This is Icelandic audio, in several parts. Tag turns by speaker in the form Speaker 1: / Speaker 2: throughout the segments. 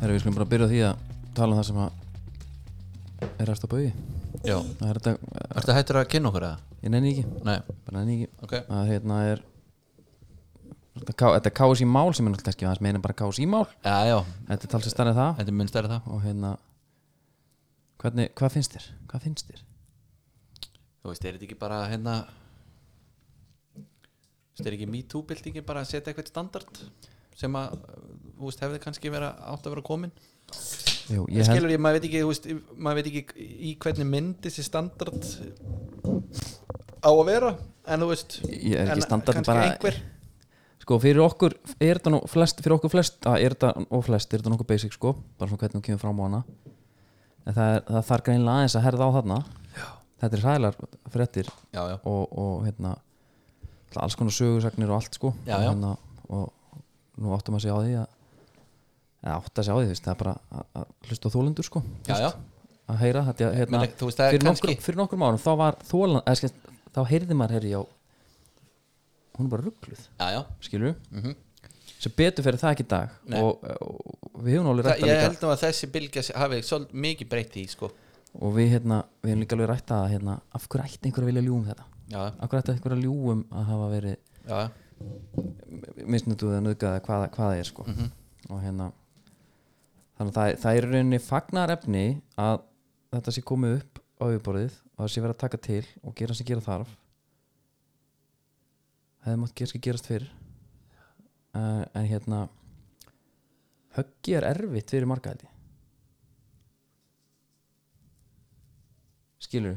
Speaker 1: Herra, við skulum bara byrja á því að tala um það sem að er eftir á bauði
Speaker 2: Já,
Speaker 1: Það er þetta, eh,
Speaker 2: ertu hættur að kynna okkur það?
Speaker 1: ég nenni ekki
Speaker 2: Nei,
Speaker 1: bara nenni ekki
Speaker 2: ok
Speaker 1: að hérna er þetta er K- þetta er KSI mál sem er náttúrulega ekki aðeins meina bara KSI mál
Speaker 2: Já, já,
Speaker 1: þetta er talsið starrið það
Speaker 2: þetta er mun stærri en það
Speaker 1: og hérna hvernig, hvað finnst þér? hvað finnst þér?
Speaker 2: Þú veist, er þetta ekki bara hérna Þú veist, er ekki MeToo-byltingi bara að setja eitthvað standard sem að, þú veist, hefði kannski vera átt að vera komin
Speaker 1: Jú,
Speaker 2: Ég
Speaker 1: ég held,
Speaker 2: skilur ég, maður veit ekki, þú veist, maður veit ekki í hvernig mynd þessi standard á að vera en þú veist,
Speaker 1: Ég er ekki
Speaker 2: en
Speaker 1: standardin
Speaker 2: kannski
Speaker 1: bara-
Speaker 2: einhver
Speaker 1: sko fyrir okkur er þetta nú flest, fyrir okkur flest, að er þetta og flest er þetta nokkuð basic sko, bara svona hvernig hún kemur fram á hana en það, er, það þarf greinlega aðeins að herða á þarna Já. þetta er sælar fréttir
Speaker 2: Já, já,
Speaker 1: og, og hérna náttúrulega alls konar sögursagnir og allt sko
Speaker 2: Já,
Speaker 1: og,
Speaker 2: já.
Speaker 1: hérna, og nú áttum að segja á því að eða átt að segja á því þú veist, það er bara að, að hlusta á þólendur sko þú
Speaker 2: já, já,
Speaker 1: veist, að heyra þetta hérna,
Speaker 2: Meina, þú veist, það er
Speaker 1: fyrir,
Speaker 2: kannski-
Speaker 1: nokkrum- fyrir nokkrum árum þá var þólan eða, skil, þá heyrði maður herri á hún er bara ruggluð
Speaker 2: já, já.
Speaker 1: skilur sem betur fyrir það ekki í dag
Speaker 2: Nei.
Speaker 1: og, og, og við höfum alveg
Speaker 2: Það,
Speaker 1: rætta
Speaker 2: ég
Speaker 1: líka
Speaker 2: held nú að þessi bylgja sé- hafi svolítið mikið breytt í, sko
Speaker 1: og við, hérna, við höfum líka alveg rætta að hérna, af hverju ætti einhver að vilja ljúum þetta
Speaker 2: Já,
Speaker 1: af hverju ætti einhver að ljúum að hafa verið
Speaker 2: já, já,
Speaker 1: misnutuð eða nöðgað eða hvað, hvað það er sko. og hérna þannig að það, er- það er í rauninni fagnar efni að þetta sé komið upp á yfirborðið og það sé verið að taka til og gera sem gera þarf hefði mátt gerski gerast fyrr uh, en hérna höggi er erfitt fyrir marga held ég skilur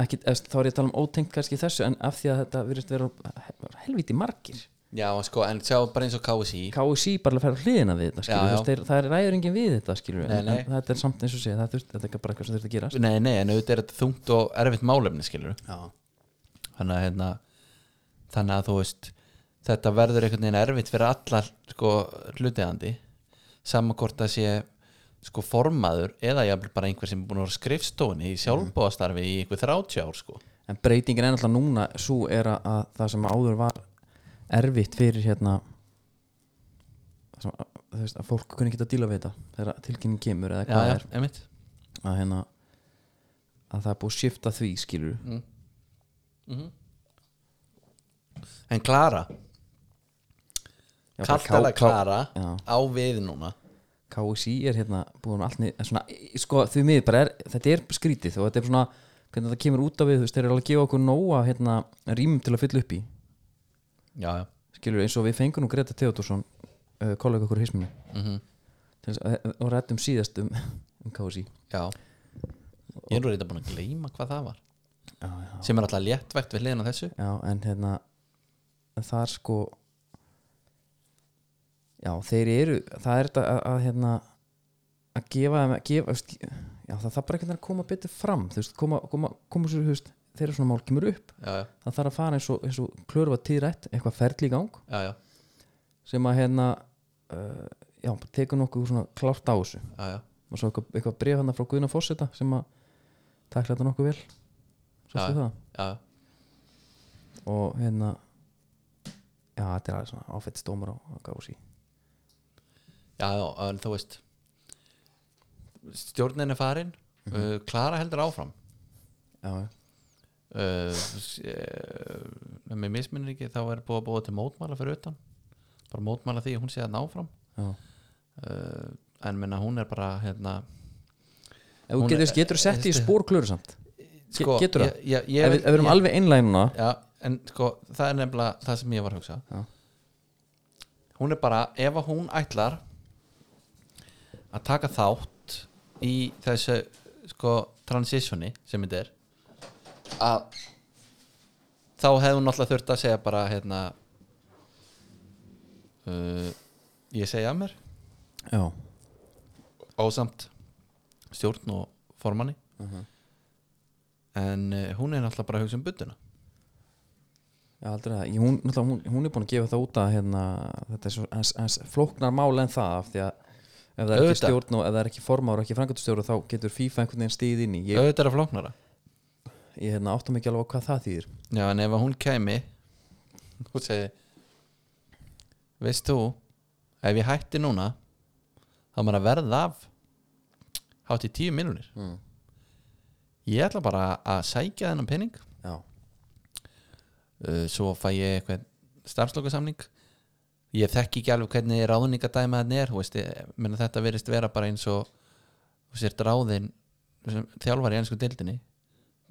Speaker 1: ekki, ef- þá er ég að tala um ótengt kannski þessu en af því að þetta virðist vera helviti margir
Speaker 2: já, sko, en sjá bara eins og KSI
Speaker 1: KSI bara fer á hliðina við þetta skilur,
Speaker 2: Já,
Speaker 1: já,
Speaker 2: já.
Speaker 1: Þeir, það er ræður enginn við þetta skilur,
Speaker 2: Nei,
Speaker 1: en,
Speaker 2: nei.
Speaker 1: en þetta er samt eins og segja það þurft, þetta er bara eitthvað sem þurft að gerast
Speaker 2: Nei, nei, en auðvitað er þetta þungt og erfitt málefni skilur
Speaker 1: já.
Speaker 2: þannig að, hérna, þannig að þú veist þetta verður einhvern veginn erfitt fyrir alla sko, hlutiðandi samankort að sé sko formaður eða jafnvel bara einhver sem er búin að vera á skrifstofunni í sjálfbóðastarfi í einhver 30 ár sko
Speaker 1: en breytingin er náttúrulega núna svo er að, að það sem áður var erfitt fyrir hérna það sem, að, þú veist, að fólk kunni ekki að díla við þetta þegar tilkynning kemur eða
Speaker 2: já,
Speaker 1: hvað
Speaker 2: já,
Speaker 1: er
Speaker 2: einmitt
Speaker 1: að, hérna, að það er búið að shifta því skilur
Speaker 2: mm. Mhm. en Klara,
Speaker 1: Já, bara
Speaker 2: kaltala
Speaker 1: K- K-
Speaker 2: Klara
Speaker 1: já.
Speaker 2: á við núna
Speaker 1: KSI er hérna búin allt niður svona, sko því miður bara er, þetta er skrítið og þetta er svona hvernig þetta kemur út af við, þú veist, þeir eru alveg að gefa okkur nóga hérna rýmum til að fylla upp í
Speaker 2: já, já,
Speaker 1: skilur eins og við fengum nú Greta Theodorsson uh, kollega okkur hisminu
Speaker 2: mm
Speaker 1: og rættum síðast um, um KSI
Speaker 2: já. ég er nú reynda búin að gleyma hvað það var
Speaker 1: já, já.
Speaker 2: sem er alltaf léttvægt við hliðin á þessu
Speaker 1: já, en hérna en þar sko já, þeir eru það er þetta að, að hérna að gefa, þeim- gefa veist, já, það þarf bara einhvern veginn að koma betur fram þú veist, koma, koma, koma svo, þú veist, þegar svona mál kemur upp
Speaker 2: já, já,
Speaker 1: það þarf að fara eins og, eins og klöru var tíðrætt eitthvað ferli í gang
Speaker 2: já, já,
Speaker 1: sem að hérna uh, já, tekur nokkuð svona klárt á þessu
Speaker 2: já, já.
Speaker 1: og svo eitthvað, eitthvað bref hann frá Guðna Fosseta sem að takla þetta nokkuð vel svo
Speaker 2: Já.
Speaker 1: stuð það
Speaker 2: já,
Speaker 1: og hérna já, þetta er alveg svona áfett stómar á Gási
Speaker 2: já, já, en þú veist stjórnin er farin
Speaker 1: Mhm.
Speaker 2: uh, Klara heldur áfram
Speaker 1: já, já,
Speaker 2: uh, s- eh, ef mér misminir ekki þá er búið að búið til mótmæla fyrir utan bara mótmæla því að hún sé að ná fram
Speaker 1: já.
Speaker 2: uh, en menna hún er bara hérna
Speaker 1: Ef þú
Speaker 2: Hún
Speaker 1: getur,
Speaker 2: er-
Speaker 1: getur sett í spór klöru samt Ge- getur það?
Speaker 2: ég, ég,
Speaker 1: ef,
Speaker 2: ég,
Speaker 1: við- ef við erum
Speaker 2: ég,
Speaker 1: alveg einlænuna
Speaker 2: já, en sko það er nefnilega það sem ég var að hugsa
Speaker 1: Já.
Speaker 2: hún er bara ef að hún ætlar að taka þátt í þessu sko transitioni sem þetta er að þá hefði hún alltaf þurft að segja bara hérna uh, ég segja af mér
Speaker 1: já,
Speaker 2: ásamt stjórn og formanni
Speaker 1: Mhm.
Speaker 2: en uh, hún er alltaf bara að hugsa um budduna
Speaker 1: já aldrei það Ég- hún, náttúrulega, hún, hún er búin að gefa það út að hérna, þetta er svo hans, hans flóknar mál en það af því að ef það er ekki
Speaker 2: Auðvitað.
Speaker 1: stjórn og ef það er ekki formáður og ekki frangatustjóru þá getur FIFA einhvern veginn stíð inn í ég,
Speaker 2: auðvitað er að flóknara
Speaker 1: ég hérna, áttum ekki alveg á hvað það þýðir
Speaker 2: Já, en ef að hún kæmi og segi veist þú ef ég hætti núna þá er maður að verða af hátt í tíu miljonir
Speaker 1: Mm.
Speaker 2: ég ætla bara að sækja þennan pening
Speaker 1: já,
Speaker 2: uh, svo fæ ég eitthvað starfslokasamning ég þekki ekki alveg hvernig ráðningadæma þannig er, þú veist, ég, menna þetta verist vera bara eins og þú sért ráðin sem þjálfar í ennsku dildinni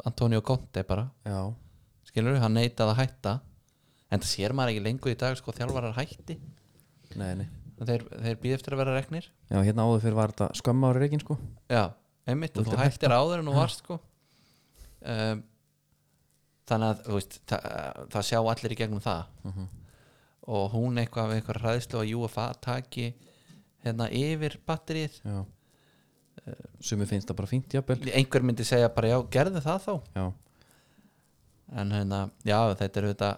Speaker 2: Antonio Conte bara
Speaker 1: já,
Speaker 2: skilur, hann neitaði að hætta en það sér maður ekki lengur í dag sko þjálfarar hætti,
Speaker 1: nei, nei
Speaker 2: þeir, þeir býð eftir að vera reknir
Speaker 1: já, hérna áður fyrir var þetta skömmu ári reikin sko
Speaker 2: já, einmitt, og
Speaker 1: Þú
Speaker 2: þú
Speaker 1: ert að
Speaker 2: hættir áður en þú varst sko um, þannig að þú veist, það, það sjá allir í gegnum það
Speaker 1: Mhm.
Speaker 2: og hún eitthvað við eitthvað ræðslu að UFA taki hérna yfir batterið
Speaker 1: já sumi Eh, finnst það bara fínt, jafnvel
Speaker 2: einhver myndi segja bara já, gerðu það þá
Speaker 1: já,
Speaker 2: en hérna, já, þetta er þetta,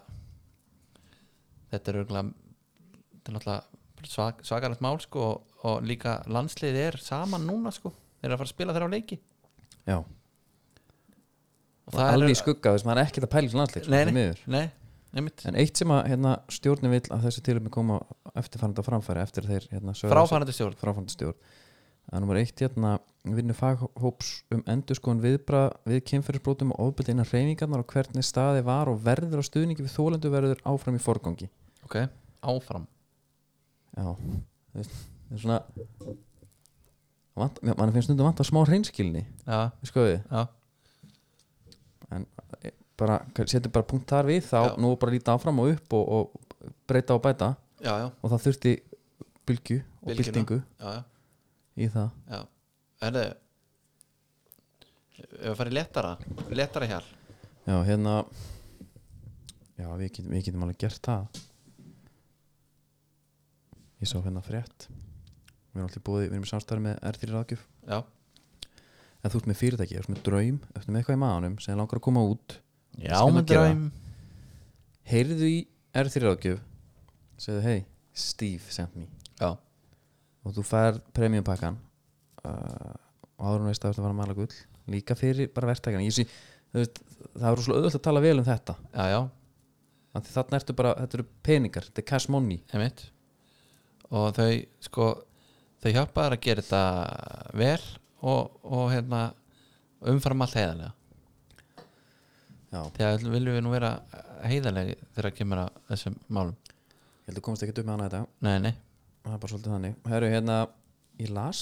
Speaker 2: þetta er örgulega þetta er náttúrulega svak, svakalegt mál sko og, og líka landsliðið er saman núna sko, þeir eru að fara að spila þeirra á leiki
Speaker 1: já,
Speaker 2: og
Speaker 1: það alveg í skugga þess maður er ekkert að pæla í svona landsleik sko,
Speaker 2: Nei,
Speaker 1: því miður.
Speaker 2: Nei, einmitt
Speaker 1: en eitt sem að hérna, stjórnin vill að þessu tilöfni koma eftirfarandi á framfæri eftir þeir hérna, sögðu-
Speaker 2: Fráfarandi stjórn
Speaker 1: fráfærandi stjórn að nummer eitt hérna vinnu faghóps um endurskoðun viðbra við kynferðisbrotum og ofbeldi innan reyningarnar og hvernig staði var og verður á stuðningi við þólendu verður áfram í forgangi
Speaker 2: Ok, áfram
Speaker 1: já þú veist, það er svona vant, mér- mann finnst stundum vant að smá hreinskilni
Speaker 2: Já,
Speaker 1: skoði,
Speaker 2: já,
Speaker 1: e, bara setjum bara punkt þar við þá,
Speaker 2: Já.
Speaker 1: nú bara líta áfram og upp og, og breyta og bæta
Speaker 2: já, já,
Speaker 1: og það þurfti bylgju og
Speaker 2: Bylgjuna.
Speaker 1: byltingu
Speaker 2: já, já,
Speaker 1: í það
Speaker 2: já. Herðu Ef við farið letara Letara hér
Speaker 1: Já, hérna Já, við getum, við getum alveg gert það Ég sá hérna frétt Við erum alltaf búið, við erum í samstæri með R3 ráðgjöf
Speaker 2: Já,
Speaker 1: En þú ert með fyrirtæki, þú ert með draum Þú ert með eitthvað í maðanum sem þig langar að koma út
Speaker 2: já
Speaker 1: Skal maður
Speaker 2: með
Speaker 1: gera
Speaker 2: draum
Speaker 1: Heyrðu í R3 ráðgjöf Segðu, hey, Steve sent me
Speaker 2: Já,
Speaker 1: Og þú fær premium pakkan uh, Og áður en þú veist að þú ert að fara að mala gull Líka fyrir bara verktakana Ég sé, þú veist, það er rosalega auðvöld að tala vel um þetta
Speaker 2: já, já,
Speaker 1: Af því Þarna ertu bara, þetta eru peningar Þetta er cash money
Speaker 2: einmitt Og þau, sko Þau hjálpaðar að gera þetta vel og, og hérna umfram allt heiðarlega
Speaker 1: Já
Speaker 2: þegar viljum við nú vera heiðarlega þegar kemur að þessum málum
Speaker 1: Ég held að komast ekkert upp með hana þetta
Speaker 2: Nei, nei,
Speaker 1: Það er bara svolítið þannig Herru, hérna, ég las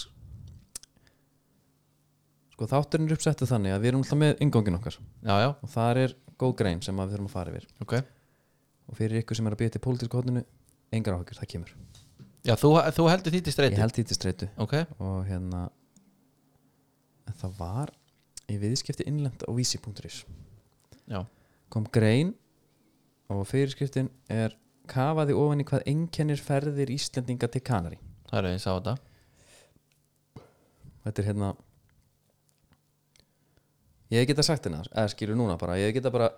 Speaker 1: Sko þátturinn er uppsettu þannig að við erum alltaf með ingóngin okkar
Speaker 2: já, já,
Speaker 1: og þar er góð grein sem að við þurfum að fara yfir
Speaker 2: ok
Speaker 1: og fyrir ykkur sem er að býja til pólitísku hóttinu engar áhugur, það kemur
Speaker 2: Já, þú, þú heldur því til
Speaker 1: Ég
Speaker 2: streyti
Speaker 1: held því til streitu
Speaker 2: Ok,
Speaker 1: og hérna en það var í viðskipti innlend á vísi.is
Speaker 2: já,
Speaker 1: kom grein og fyrirskriftin er kafaði ofan í hvað einkennir ferðir Íslendinga til Kanari
Speaker 2: það eru ég sá þetta
Speaker 1: þetta er hérna ég geta sagt hérna eða skilur núna bara, ég geta bara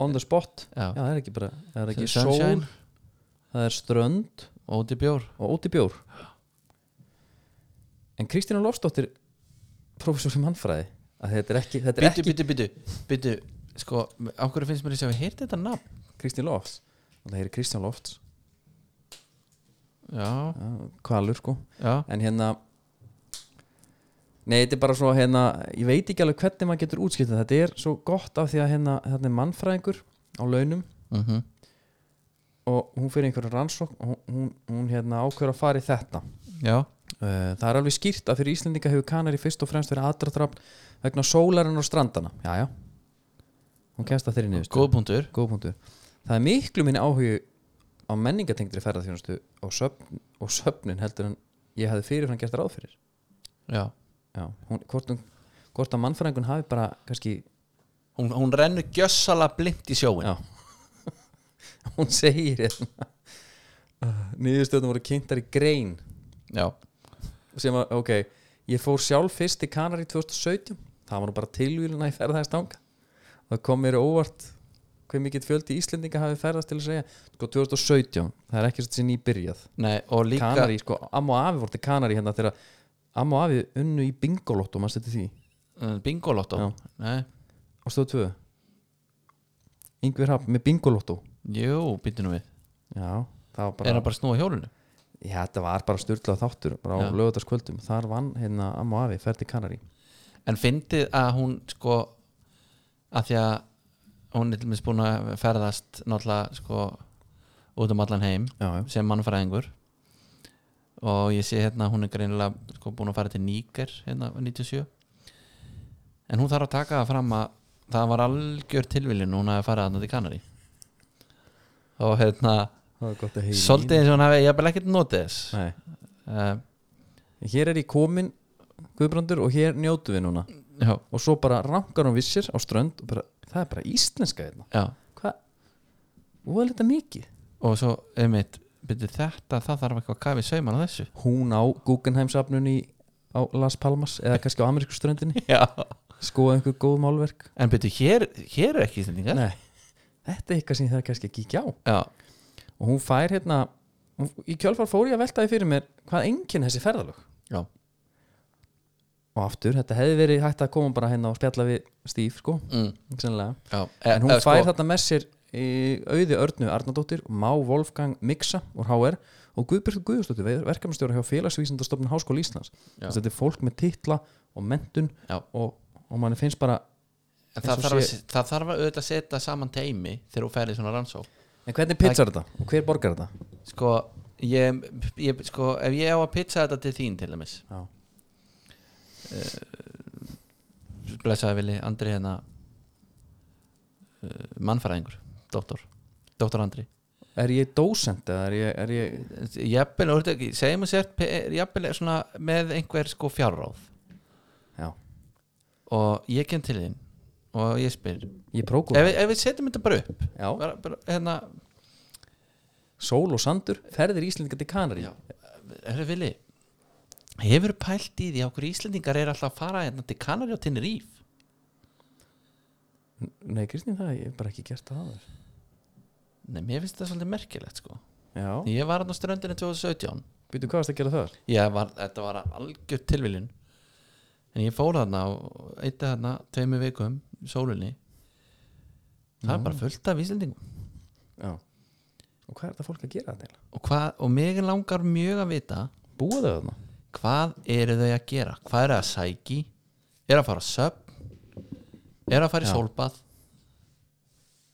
Speaker 1: on the spot, já
Speaker 2: Já,
Speaker 1: það er ekki bara það er ekki
Speaker 2: Sunshine.
Speaker 1: sól, það er strönd
Speaker 2: óti bjór
Speaker 1: og óti bjór en Kristína Lofsdóttir prófessor í mannfræði að þetta er ekki, þetta er
Speaker 2: Byttu, byttu, byttu, byttu Sko, á hverju finnst mér þess að við heyrði þetta nafn
Speaker 1: ekki Kristín Lofts og það er Kristján Lofts
Speaker 2: Já,
Speaker 1: já, hvalur sko,
Speaker 2: já,
Speaker 1: en hérna Nei, þetta er bara svo hérna, ég veit ekki alveg hvernig maður getur útskiptað þetta er svo gott af því að hérna, hérna er mannfræðingur á launum
Speaker 2: mhm
Speaker 1: og hún fyrir einhverju rannsókn og hún, hún, hún hérna ákveður að fara í þetta uh,
Speaker 2: Já,
Speaker 1: það er alveg skýrt að fyrir Íslendinga hefur Kanari fyrst og fremst verið aðdraðdrafn vegna sólarinn og strandana já, já, hún kemst að þeirri niður
Speaker 2: góð punktur
Speaker 1: góð punktur það er miklu minni áhugi á menningatengdri ferðarþjónustu og, söfn, og söfnin heldur en ég hefði fyrirfram gert ráð fyrir
Speaker 2: Já,
Speaker 1: já, hún, hvort, hún, hvort að mannfræðingun hafi bara kannski,
Speaker 2: hún, hún rennur gjössala blind í sjóin
Speaker 1: já hún segir hérna niðurstöðum voru kynntar í grein
Speaker 2: Já,
Speaker 1: sem að, ok, ég fór sjálf fyrst til Kanari 2017 það var nú bara tilvíluna í ferðaðist ánga það kom mér á óvart hver mikill fjöldi Íslendinga hafi ferðast til að segja sko 2017, það er ekki svo sinni í byrjað
Speaker 2: nei, og líka
Speaker 1: Kanari, sko, amma og afi voru til Kanari hérna þegar amma og afi unnu í bingolotto, maður stætti því
Speaker 2: Mm, Bingolotto
Speaker 1: Já.
Speaker 2: Nei,
Speaker 1: á stöðu 2 yngver hafn með bingolotto
Speaker 2: jú, byttu nú við
Speaker 1: já, það var
Speaker 2: Er
Speaker 1: bara,
Speaker 2: hann bara að snúa hjólinu?
Speaker 1: já, þetta var bara styrlað þáttur bara á
Speaker 2: Já.
Speaker 1: lögutaskvöldum, þar vann hérna Amma og Afi, ferði Kanari
Speaker 2: en fyndið að hún sko að því að hún er til minns búin að ferðast náttúrulega sko út um allan heim
Speaker 1: já, já,
Speaker 2: sem mannfræðingur og ég sé hérna að hún er greinilega sko búin að fara til Níger hérna 97 en hún þarf að taka það fram að það var algjör tilviljun hún hafi farið þarna til Kanari og hérna
Speaker 1: það var gott að heyra í
Speaker 2: svolítið eins og hún hafi jafnvel ekkert notið þess
Speaker 1: Nei.
Speaker 2: uh,
Speaker 1: hér er ég komin Guðbrandur og hér njótu við núna
Speaker 2: já,
Speaker 1: og svo bara rankar hún vissir á strönd og bara, það er bara íslenska hérna
Speaker 2: já
Speaker 1: hvað, hvað er þetta mikið
Speaker 2: og svo einmitt byrju þetta, það þarf eitthvað að kafa í sauman á þessu
Speaker 1: hún á Guggenheimsafnunni á Las Palmas eða kannski á amerísku ströndinni
Speaker 2: já.
Speaker 1: skoða einhver góð málverk
Speaker 2: en byrju, hér, hér er ekki íslendingar
Speaker 1: Nei, þetta er eitthvað sem það er kannski að kíkja á
Speaker 2: já,
Speaker 1: og hún fær hérna hún, í kjölfar fór ég að veltaði fyrir mér hvað enginn þessi ferðalög
Speaker 2: já,
Speaker 1: og aftur, þetta hefði verið hægt að koma bara hérna og spjalla við Stíf sko,
Speaker 2: mm,
Speaker 1: sennilega
Speaker 2: já. Eh,
Speaker 1: en hún
Speaker 2: Eða
Speaker 1: fær þarna með sér í auði Örnu Arnardóttir, Má Wolfgang Miksa úr HR og Guðbjörg Guðjósdóttir verkefnastjóra hjá Félagsvísindastofnun Háskóla Íslands
Speaker 2: Já.
Speaker 1: Þess að þetta er fólk með titla og mentun
Speaker 2: Já.
Speaker 1: og, og manni finnst bara
Speaker 2: En
Speaker 1: eins og
Speaker 2: það þarf, að, það þarf að auðvitað setja saman teimi þegar þú ferði svona rannsók
Speaker 1: en hvernig pizzar þetta og hver borgar þetta
Speaker 2: sko, ég, ég, sko, ef ég á að pizza þetta til þín til dæmis
Speaker 1: Já.
Speaker 2: blessaði vili Andri hérna uh, mannfæraðingur, doktor doktor Andri
Speaker 1: er ég dósent eða er ég, er ég
Speaker 2: jafnvel, og þetta ekki, segjum að sért pe- jafnvel svona með einhver sko fjárráð
Speaker 1: já,
Speaker 2: og ég kem til þín og ég spyr ef,
Speaker 1: ég prókur
Speaker 2: við- ef við setjum þetta bara upp
Speaker 1: já,
Speaker 2: bara, bara, hérna,
Speaker 1: sól og sandur, ferðir Íslendinga til Kanari
Speaker 2: Já. herri Vili hefur pælt í því að okkur Íslendingar er alltaf að fara hérna til Kanari og tinnir íf
Speaker 1: nei Kristín, það hef ég bara ekki gert það áður
Speaker 2: Nei, mér finnst þetta svolítið merkilegt sko
Speaker 1: já,
Speaker 2: ég var hann á ströndinu 2017
Speaker 1: býtu hvað varst að gera þar
Speaker 2: ég var, þetta var algjör tilviljun en ég fór þarna og eitt þarna tveimur vikum í sólunni það er bara fullt af Íslendingum
Speaker 1: já, og hvað er þetta fólk að gera þetta eiginlega?
Speaker 2: og, hvað, og mig langar mjög að vita
Speaker 1: búa þau þarna
Speaker 2: hvað eru þau að gera hvað eru þau að sæki eru að fara að söp eru að fara í
Speaker 1: Já.
Speaker 2: sólbað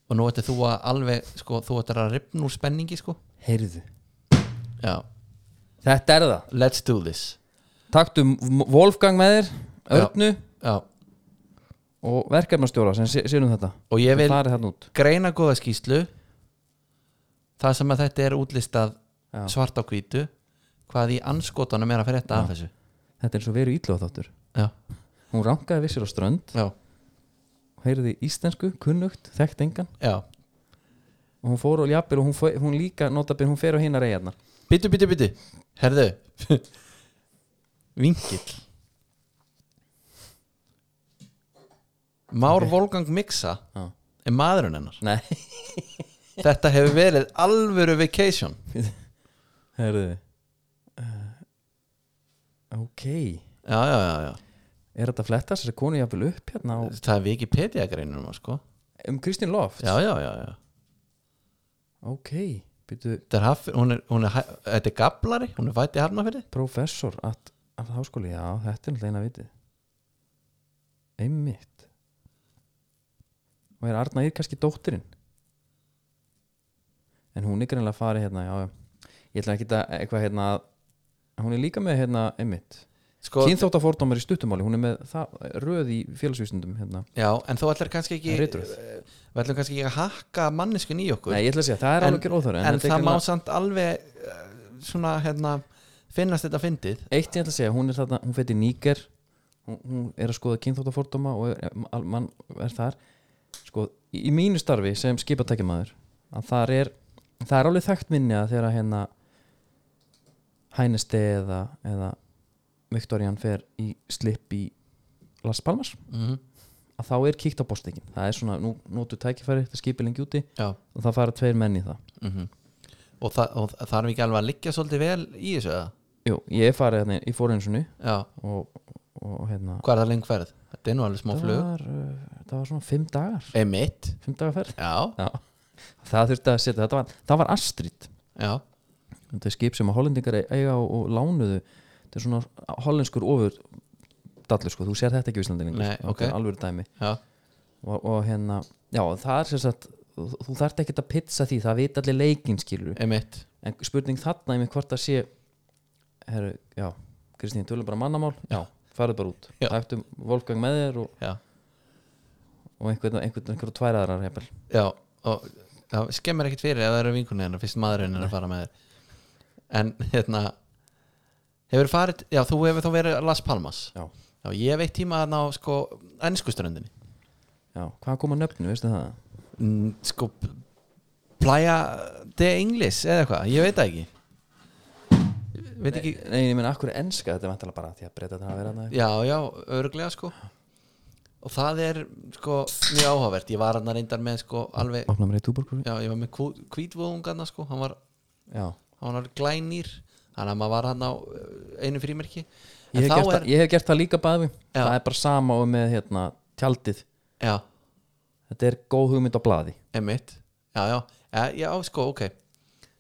Speaker 2: og nú ætti þú að alveg sko, þú ættir að ripna úr spenningi sko
Speaker 1: heyrðu,
Speaker 2: já,
Speaker 1: þetta er það
Speaker 2: let's do this
Speaker 1: taktu M- Wolfgang með þér Örnu
Speaker 2: já.
Speaker 1: og verkefnastjóra sem sé- sér um þetta
Speaker 2: og ég vil
Speaker 1: það er þarna út
Speaker 2: greina góða skýslu það sem að þetta er útlistað
Speaker 1: Já.
Speaker 2: svart á hvítu hvað í anskotanum er að fyrir þetta af þessu
Speaker 1: þetta er eins og veru ítlóðáttur
Speaker 2: já,
Speaker 1: hún rankaði við sér á strönd
Speaker 2: já,
Speaker 1: heyrði íslensku, kunnugt, þekkt engan
Speaker 2: já
Speaker 1: og hún fór og ljapir og hún, fór, hún líka notabir hún fer á hinar eigarnar
Speaker 2: Bittu, bittu, bittu Herðu Vingill Már Volgang Miksa
Speaker 1: Já.
Speaker 2: er maðurinn hennar
Speaker 1: nei,
Speaker 2: Þetta hefur verið alvöru vacation
Speaker 1: heyrðu uh, Eh, ok
Speaker 2: Já, já, já, já
Speaker 1: er þetta að fletta þessari konu jafnvel upp hérna á,
Speaker 2: Það er Wikipedia greinum sko.
Speaker 1: um Kristín Loft
Speaker 2: Já, já, já, já
Speaker 1: ok, byrju
Speaker 2: Þetta er, haf, hún er, hún er, hæ- þetta er gablari Hún er fætt í Hafnafyrði
Speaker 1: professor að, að háskóli, já, þetta er náttúrulega eina vitið einmitt og er Arna Ír kannski dóttirinn en hún er greinlega farið hérna, já, já, ég ætla ekki að eitthvað hérna, að- hún er líka með hérna, einmitt,
Speaker 2: sko,
Speaker 1: kynþótt í stuttumáli, hún er með það, röð í félagsvísundum hérna,
Speaker 2: Já, en þú ætlar kannski ekki
Speaker 1: Ritröð.
Speaker 2: Við ætlum kannski ekki að hakka manneskun í okkur
Speaker 1: nei, ég ætla að segja, það er
Speaker 2: En-
Speaker 1: alveg ekki óþöru,
Speaker 2: en
Speaker 1: þetta er
Speaker 2: það má
Speaker 1: greinlega-
Speaker 2: samt alveg eh, svona hérna finnast þetta fyndið
Speaker 1: eitt ég ætla að segja, hún er þarna, hún fætti nýger hún, hún er að skoða kynþóttafordóma og er, al- mann er þar sko, í, í mínu starfi sem skipatækjamaður að þar er það er alveg þekkt minni að þegar að hérna Hænesti eða, eða Viktorian fer í slip í Las Palmas
Speaker 2: Mhm.
Speaker 1: að þá er kíkt á bóstekin það er svona, nú notu tækifæri, það skipir lengi úti
Speaker 2: Já,
Speaker 1: og það fara tveir menn í það
Speaker 2: Mhm. og, þa og þa- þarf ekki alveg að liggja svolítið vel í þessu eða?
Speaker 1: Jú, ég er farið hérna, ég fór eins og nú
Speaker 2: Já,
Speaker 1: og, og hérna
Speaker 2: hvað er það lengi ferð? Þetta er nú alveg smá
Speaker 1: það
Speaker 2: flug
Speaker 1: var, uh, það var svona fimm dagar
Speaker 2: Emitt,
Speaker 1: fimm dagar ferð
Speaker 2: já,
Speaker 1: Já. það þurfti að setja, þetta var, það var Astrid
Speaker 2: já
Speaker 1: þetta er skip sem að hollendingar eiga og, og lánuðu þetta er svona hollenskur ofur dallur sko, þú sér þetta ekki í Íslandi lengur
Speaker 2: Nei,
Speaker 1: sko. Þetta er
Speaker 2: ok.
Speaker 1: alveg dæmi
Speaker 2: já,
Speaker 1: og, og hérna, já það er sem sagt þú- þú þarft ekki að pizza því, það veit allir leikinn skilur,
Speaker 2: emitt
Speaker 1: en spurning þarna einmitt hvort það sé herru, já, Kristín, tölum bara mannamál
Speaker 2: Já.
Speaker 1: farðu bara út,
Speaker 2: Já.
Speaker 1: taktum Volgang með þér og,
Speaker 2: já,
Speaker 1: og einhvern, einhvern, einhvern tværaðarar hefur
Speaker 2: já, og það skemmir ekkert fyrir ef það eru vinkunni hennar, fyrst maðurinn er að fara með þér en hérna hefur farið, já þú hefur þá verið Las Palmas,
Speaker 1: já,
Speaker 2: já ég veit tíma þarna á sko ennskuströndinni
Speaker 1: já, hvað kom að nöfnu, veistu það
Speaker 2: Mm, sko playa de Inglis eða eitthvað, ég veit það ekki Ég veit ekki
Speaker 1: Nei, ég meina, akkur er enska, þetta er vantilega bara því að breyta þetta að vera þarna
Speaker 2: já, já, örglega sko og það er sko mjög áhugavert, ég var hann að reyndar með sko alveg,
Speaker 1: Opna mér í túborgur
Speaker 2: já, ég var með kvítvóðungarna sko, hann var,
Speaker 1: Já,
Speaker 2: hann var glænýr þannig að maður var hann á uh, einu frímerki
Speaker 1: ég
Speaker 2: en
Speaker 1: hef,
Speaker 2: þá
Speaker 1: gert,
Speaker 2: er,
Speaker 1: það, ég hef gert það líka bæði
Speaker 2: Já.
Speaker 1: Það er bara sama og með hérna, tjaldið
Speaker 2: já,
Speaker 1: Þetta er góð hugmynd á blaði
Speaker 2: emitt já, já, já, já, sko, ok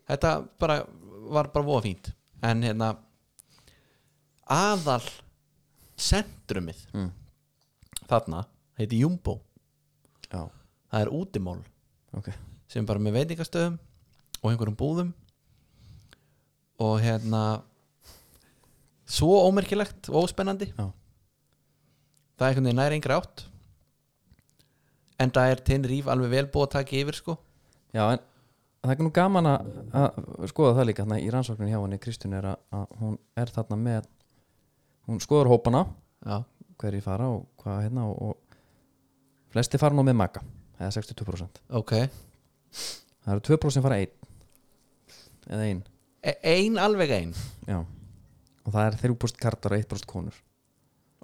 Speaker 2: þetta bara, var bara voða fínt en hérna aðal sentrumið
Speaker 1: Mm.
Speaker 2: þarna, heiti Jumbo
Speaker 1: Já,
Speaker 2: það er útimál
Speaker 1: ok
Speaker 2: sem er bara með veitingastöðum og einhverjum búðum og hérna svo ómerkilegt og óspennandi
Speaker 1: Já.
Speaker 2: það er einhvern veginn næri einhver átt en það er tinn ríf alveg vel búið að taka yfir sko
Speaker 1: Já, en það er nú gaman að, að skoða það líka þarna, í rannsóknin hjá henni Kristján er að, að hún er þarna með hún skoður hópana
Speaker 2: já,
Speaker 1: hverjir fara og hvað hérna og, og flesti fara nú með maka eða 62%
Speaker 2: ok
Speaker 1: Það eru 2% fara einn eða einn
Speaker 2: E- ein alveg ein,
Speaker 1: Já og það er 3% kartar og 1% konur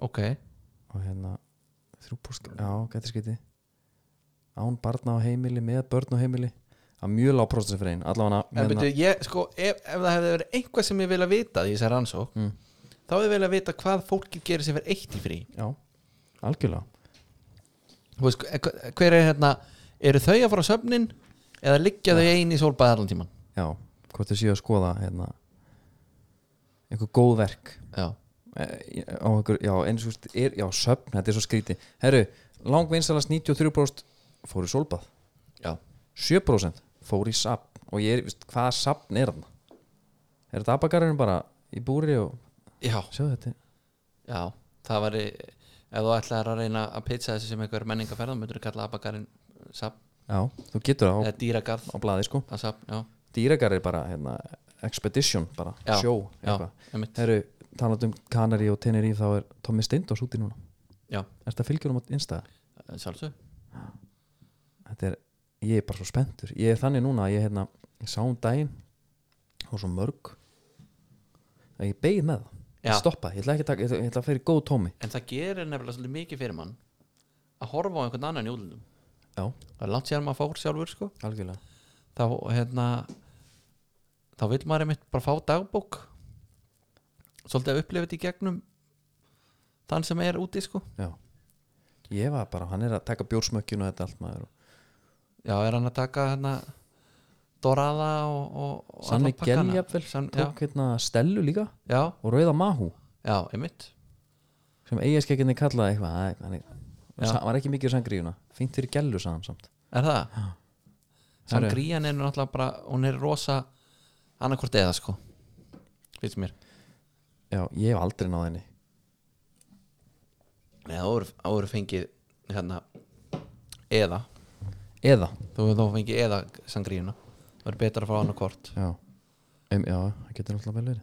Speaker 2: ok
Speaker 1: og hérna 3% já, getur skytti án barna á heimili, með börn á heimili það er mjög lág prósentum fyrir einn allavega hérna-
Speaker 2: en
Speaker 1: menna-
Speaker 2: betur, ég, sko, ef, ef það hefði verið einhvað sem ég vilja vita því ég sér ansó
Speaker 1: Mm.
Speaker 2: þá hefði ég vilja vita hvað fólkið gerir sem verið eitt í frí
Speaker 1: já, algjörlega
Speaker 2: Þú veist, hver- hver er hérna eru þau að fara á söfnin eða liggja þau ein í sólbæði allan tíman
Speaker 1: já, hvort þið séu að skoða hérna einhver góð verk
Speaker 2: já,
Speaker 1: Eh, á einhver, já, eins og þú veist, er, já, söfn, þetta er svo skríti herru, langvinsalast 93% fór í sólbað
Speaker 2: já,
Speaker 1: 7% fór í sapn og ég er, veist, hvaða sapn er hann er þetta abakarinn bara í búri og
Speaker 2: já,
Speaker 1: sjáðu þetta
Speaker 2: já það var ef þú ætlaðir að reyna að pizza þessu sem einhver menningaferð þá myndur þú kalla abakarinn sap,
Speaker 1: Já, þú getur það á,
Speaker 2: eða dýragarð
Speaker 1: á blaði sko
Speaker 2: að sap, já,
Speaker 1: Dýragar er bara hérna, expedition bara,
Speaker 2: Já,
Speaker 1: sjó
Speaker 2: já,
Speaker 1: eitthvað.
Speaker 2: einmitt,
Speaker 1: Herru, talandi um Kanari og Tenerife þá er Tommy Steindors úti núna
Speaker 2: já,
Speaker 1: Er þetta fylgjur um að einstæða?
Speaker 2: sjálfsög
Speaker 1: Þetta er, ég er bara svo spenntur Ég er þannig núna að ég, hérna, ég sá um daginn og svo mörg að ég beigð með það
Speaker 2: Já.
Speaker 1: Ég stoppaði, ég ætla ekki að taka, ég ætla, ég ætla að fyrir góð Tommy
Speaker 2: en það gerir nefnilega svolítið mikið fyrir mann að horfa á einhvern annan í útlundum
Speaker 1: Já,
Speaker 2: það er langt sér maður fór sjálfur sko
Speaker 1: algjörlega
Speaker 2: þá hérna þá vil maður einmitt bara fá dagbók svolítið að upplifa þetta í gegnum þann sem er úti sko
Speaker 1: Já Ég var bara, hann er að taka bjórsmökkjun og þetta allt maður og
Speaker 2: já, er hann að taka hérna Dorada og, og, og
Speaker 1: Sanni
Speaker 2: alla pakkana.
Speaker 1: Gjell jafnvel,
Speaker 2: San, já,
Speaker 1: tók hérna Stellu líka
Speaker 2: já,
Speaker 1: og Rauða Mahú
Speaker 2: já, einmitt
Speaker 1: sem eigaskekkinni kallaði eitthvað það er- hann er-
Speaker 2: Já.
Speaker 1: sa- var ekki mikið sangríuna fínt fyrir gælu saðan samt
Speaker 2: er það?
Speaker 1: Herru.
Speaker 2: Sangrían er náttúrulega bara hún er rosa annarkvort eða sko finnst mér
Speaker 1: já, ég hef aldrei náð henni
Speaker 2: Nei, það voru- það voru fengið hérna eða
Speaker 1: eða
Speaker 2: þú hefur þá fengið eða sangríuna það er betra að fá hann að kort
Speaker 1: já, um, já það getur alltaf vel verið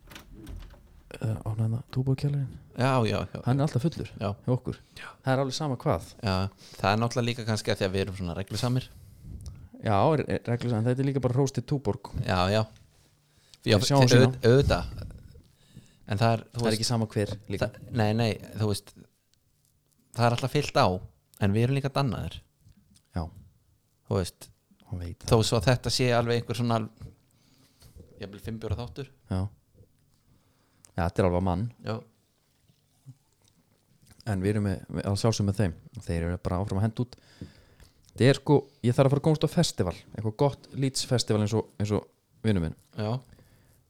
Speaker 1: uh, á næna túbókjælurinn
Speaker 2: já, já, já,
Speaker 1: hann er alltaf fullur
Speaker 2: já,
Speaker 1: hjá okkur já. það er alveg sama hvað
Speaker 2: já það er náttúrulega líka kannski að því að við erum svona reglusamir
Speaker 1: já, er- er reglur en þetta er líka bara róstið túborg
Speaker 2: já, já, já
Speaker 1: Við sjáum
Speaker 2: te-
Speaker 1: sína.
Speaker 2: auð- auðvitað en það er, þú
Speaker 1: um það er ekki sama hver líka
Speaker 2: það, nei, nei, þú veist það er alltaf fyllt á en við erum líka dannaðir
Speaker 1: já,
Speaker 2: þú veist,
Speaker 1: hann veit það
Speaker 2: þó svo að þetta sé alveg einhver svona ég vil fimm bjóra þáttur
Speaker 1: já. já, þetta er alveg mann
Speaker 2: já,
Speaker 1: en við erum með, með- að sjálfsögum með þeim þeir eru bara áfram að henda út þetta er sko, ég þarf að fara að komast á festival eitthvað gott lýtsfestival eins og, eins og vinnu minn
Speaker 2: já,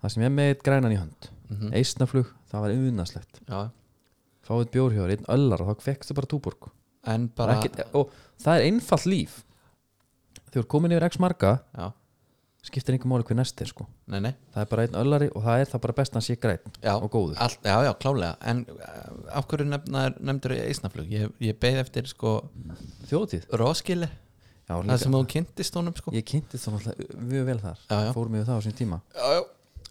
Speaker 1: það sem ég með eitt grænan í hönd
Speaker 2: mhm,
Speaker 1: eisnaflug, það var unnarslegt
Speaker 2: já
Speaker 1: fáið bjór hjá þér, einn öllar og þá fekkstu bara túborg
Speaker 2: en
Speaker 1: bara...
Speaker 2: bara
Speaker 1: ekki, og það er einfalt líf þegar þú er komin yfir x marga
Speaker 2: já,
Speaker 1: skiptir einhver máli hver næst er sko
Speaker 2: nei, nei,
Speaker 1: það er bara einn öllari og það er það bara best að hann sé græn
Speaker 2: já,
Speaker 1: og góður
Speaker 2: all, já, já, klálega en uh, af hverju nefnar, nefndur ég eisnaflug ég, ég beið eftir sko
Speaker 1: þjóðtíð
Speaker 2: Roskilde,
Speaker 1: Já,
Speaker 2: það
Speaker 1: líka,
Speaker 2: sem þú kynntist honum sko
Speaker 1: ég kynnti það náttúrulega uh, mjög vel þar
Speaker 2: já, já,
Speaker 1: fór mjög það á sín tíma
Speaker 2: já, já.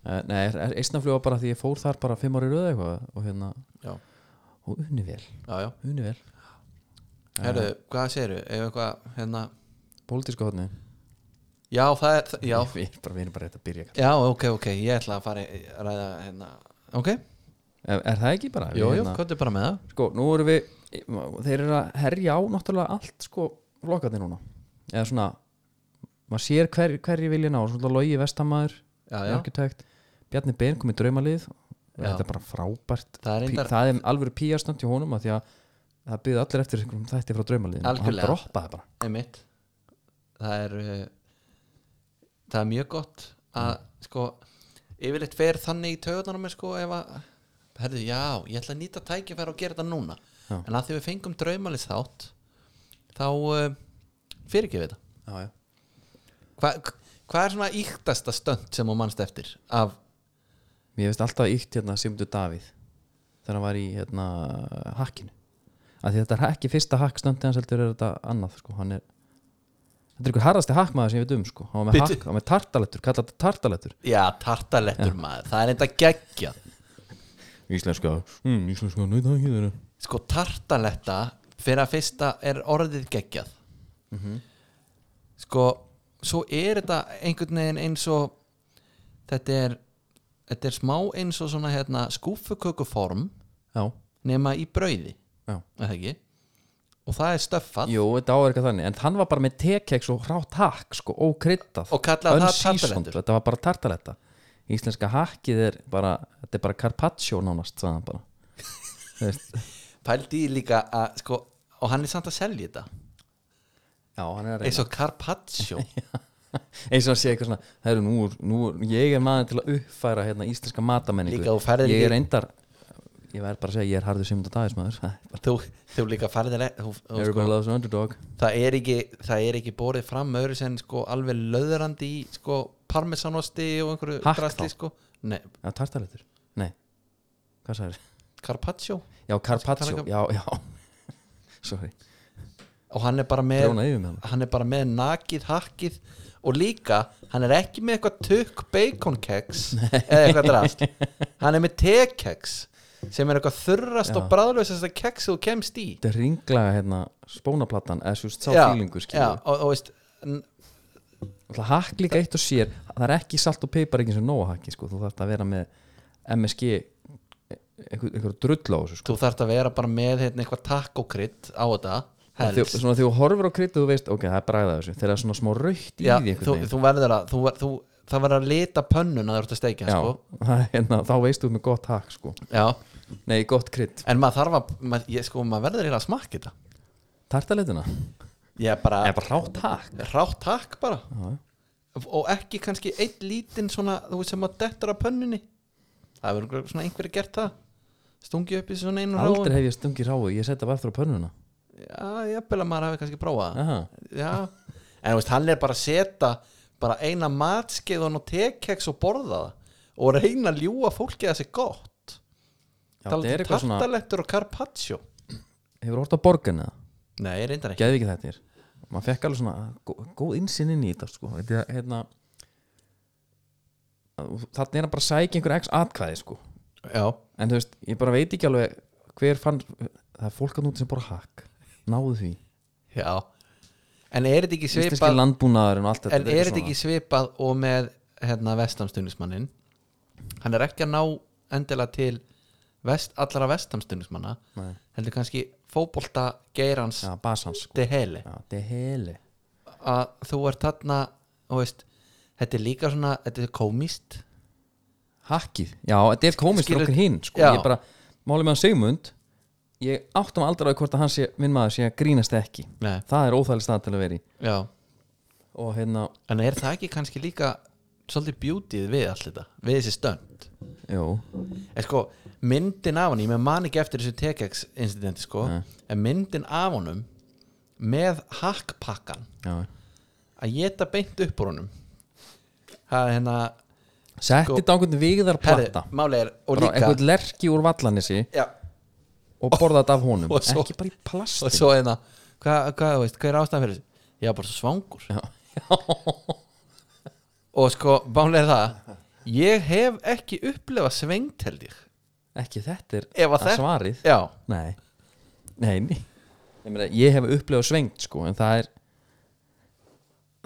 Speaker 1: Eh, nei, eisnaflug var bara því ég fór þar bara fimm ári röða eitthvað og hérna
Speaker 2: Já.
Speaker 1: og unni vel,
Speaker 2: já, já.
Speaker 1: unni vel Eh,
Speaker 2: Herru, hvað segirðu, ef eitthvað hérna,
Speaker 1: pólitíska hodni
Speaker 2: já, það er já,
Speaker 1: við erum bara, við erum bara rétt að byrja kall.
Speaker 2: já, ok, ok, ég ætla að fara í- að ræða hérna, ok,
Speaker 1: er, er það ekki bara? Við
Speaker 2: jú, jú,
Speaker 1: hérna,
Speaker 2: hvað er bara með það
Speaker 1: sko, nú erum við þeir eru að herja á náttúrulega allt sko flokkarnir núna eða svona, maður sér hver, hverju vilja ná, svona logi vestamæður
Speaker 2: já, já,
Speaker 1: arkitekt, Bjarni Ben kom í draumalið
Speaker 2: Já.
Speaker 1: þetta er bara frábært
Speaker 2: það er
Speaker 1: Pí,
Speaker 2: eindar
Speaker 1: það er alveg píastönd hjá honum af því að það byggði allir eftir einhverjum þætti frá draumaliðin og hann
Speaker 2: Algjörlega.
Speaker 1: droppaði bara
Speaker 2: einmitt það er uh, það er mjög gott að sko yfirleitt fer þannig í taugarnar með sko ef að herðu já, ég ætla að nýta tækifæra og gera þetta núna
Speaker 1: Já.
Speaker 2: en að því við fengum draumalist þátt þá uh, fyrirgefið þetta
Speaker 1: já, já.
Speaker 2: hvað hva er svona íktasta stönd sem þú mannst eftir af,
Speaker 1: mér finnst alltaf íkt hérna Simdu Davíð þegar hann var í hérna hakkinu af því þetta er ekki fyrsta hakk stöndi hans heldur er þetta annað sko. hann er þetta er ykkur harðasti hakkmaður sem ég veit um sko. hann var með,
Speaker 2: Bíddu.
Speaker 1: hakk, hann var með tartalettur, kallað þetta tartalettur
Speaker 2: já, tartalettur maður það er enda geggjað
Speaker 1: íslenska, mm, íslenska, nöyta ekki þeirra
Speaker 2: sko tartaletta fyrir að fyrsta er orðið geggjað
Speaker 1: Mhm.
Speaker 2: sko svo er þetta einhvern veginn eins og þetta er þetta er smá eins og svona hérna, skúfukökuform
Speaker 1: já,
Speaker 2: nema í brauði
Speaker 1: já,
Speaker 2: er það ekki? og það er stöffað
Speaker 1: jú, þetta áverka þannig en hann var bara með tekeks og hrátt hakk sko, ókryddað,
Speaker 2: og kallaði það
Speaker 1: unseasoned,
Speaker 2: tartalettur
Speaker 1: þetta var bara tartaletta íslenska hakkið er bara þetta er bara carpaccio nánast sagði hann bara Þú veist,
Speaker 2: pældi í líka að sko og hann er samt að selja þetta
Speaker 1: já, hann er að reyna
Speaker 2: eins og Carpaccio
Speaker 1: eins og að sé eitthvað svona herru, nú, er- nú, er- ég er maður til að uppfæra hérna, íslenska matamenningu
Speaker 2: Líka þú færðir
Speaker 1: ég er
Speaker 2: ekki-
Speaker 1: endar ég verð bara að segja, ég er harður simund og dagis maður Ha,
Speaker 2: þú, þú líka farðir þú, þú, sko
Speaker 1: everybody loves an underdog
Speaker 2: það er ekki það er ekki borið fram öðru sem sko alveg löðrandi í sko parmesanosti og einhverju
Speaker 1: Hakk
Speaker 2: drasli
Speaker 1: þá?
Speaker 2: sko Nei,
Speaker 1: já, tartaletur, nei, hvað sagðir
Speaker 2: Carpaccio
Speaker 1: já, carpaccio,
Speaker 2: Karaka-
Speaker 1: já, já sorry,
Speaker 2: og hann er bara með
Speaker 1: dróna yfir með hann
Speaker 2: hann er bara með nakið hakkið og líka hann er ekki með eitthvað tukk bacon keks eða eitthvað drast hann er með tekeks sem er eitthvað þurrast og bræðlösast keks sem þú kemst í
Speaker 1: þetta er ringlaga hérna, spónaplattan eða svo sá
Speaker 2: Já,
Speaker 1: fílingur
Speaker 2: já,
Speaker 1: skilur
Speaker 2: og, og veist n-
Speaker 1: Alltaf hakk líka eitt og sér það er ekki salt og peipar ekki sem nóa hakki sko. þú þarft að vera með MSG e- einhver, einhver drull á þessu sko.
Speaker 2: þú þarft að vera bara með hérna, eitthvað takkokrydd á þetta
Speaker 1: Þegar-
Speaker 2: helst.
Speaker 1: svona þegar þú horfir á krydd og þú veist, ok, það er bræðað þessu þegar það er svona smá raukt í því
Speaker 2: já, þú,
Speaker 1: einhvern veginn
Speaker 2: þú verður að þú, ver- þú, það verður að lita pönnun að þú ert að steikja
Speaker 1: já,
Speaker 2: sko.
Speaker 1: það er hérna, þá veist þú með gott hakk sko.
Speaker 2: já.
Speaker 1: nei, gott krydd,
Speaker 2: en maður þarf að mað, ég, sko, maður verður eiginlega að smakka þetta
Speaker 1: tartaleituna
Speaker 2: ég er bara,
Speaker 1: er bara rátt hakk
Speaker 2: rátt takk bara
Speaker 1: Já.
Speaker 2: og ekki kannski einn lítinn svona þú veist sem að dettur af pönnunni það verður örugglega svona einhverju gert það stungi upp í svona einu
Speaker 1: aldrei hef ég stungið ráu, ég setja bara frá pönnuna
Speaker 2: já, ég að maður hafi kannski prófað það
Speaker 1: Aha.
Speaker 2: já, en þú veist, hann er bara að setja bara eina matskeiðan og tekeks og borða það og reyna að ljúga fólki að það sé gott
Speaker 1: Já, þetta er eitthvað svona,
Speaker 2: um tartalettur og carpaccio
Speaker 1: hefur hort á borgin eða,
Speaker 2: nei, reyndar ekki
Speaker 1: geði ekki þetta er maður fekk alveg svona gó- góð insinn inn í þetta sko. þetta er hérna þannig er hann bara að sækja einhver x atkvæði sko.
Speaker 2: já,
Speaker 1: en þú veist, ég bara veit ekki alveg hver fann, það er fólk að núti sem bara hakk náðu því,
Speaker 2: já en er þetta ekki
Speaker 1: íslenski
Speaker 2: svipað
Speaker 1: landbúnaður og allt þetta
Speaker 2: en er þetta ekki svipað og með hérna vestamstunismannin hann er ekki að ná endilega til vest, allra vestamstunismanna
Speaker 1: Nei.
Speaker 2: heldur kannski fótbolta geirans
Speaker 1: já, basans sko.
Speaker 2: de hele
Speaker 1: já, þetta er heli
Speaker 2: að þú ert þarna og veist, þetta er líka svona þetta er komist
Speaker 1: hakkið, já, þetta er komist fyrir
Speaker 2: Skilur-
Speaker 1: okkur hinn sko.
Speaker 2: Já.
Speaker 1: ég bara, málið með hann Sigmund ég áttum aldrei á því hvort að hann sé minn maður sé að grínast ekki
Speaker 2: Nei.
Speaker 1: það er óþægileg stað til að vera í
Speaker 2: já,
Speaker 1: og hérna,
Speaker 2: en er það ekki kannski líka svolítið beautyð við allt þetta við þessi stönd
Speaker 1: Jú,
Speaker 2: en sko, myndin af hann, ég man ekki eftir þessu TKX incidenti sko
Speaker 1: Nei.
Speaker 2: en myndin af honum með hakkpakkan
Speaker 1: já
Speaker 2: að geta beint upp úr honum það er hérna
Speaker 1: Setti
Speaker 2: Sko-
Speaker 1: sko, dánkvönd viðar platta
Speaker 2: herri, máli er, og
Speaker 1: Bara
Speaker 2: líka
Speaker 1: einhvern lerki úr vallanissi
Speaker 2: já,
Speaker 1: og borða þetta af honum
Speaker 2: Og svo-
Speaker 1: Ekki bara í
Speaker 2: og
Speaker 1: plastin
Speaker 2: svo hérna hvað, hvað, þú veist, hvað er ástæðan fyrir þessu? ég var bara svo svangur
Speaker 1: Já.
Speaker 2: og sko, máli er það ég hef ekki upplefað svengt held ég
Speaker 1: Ekki þetta er
Speaker 2: Ef að
Speaker 1: að
Speaker 2: þetta-
Speaker 1: svarið
Speaker 2: já,
Speaker 1: Nei, nei, nei. Ég, meina, ég hef upplifað svengt sko en það er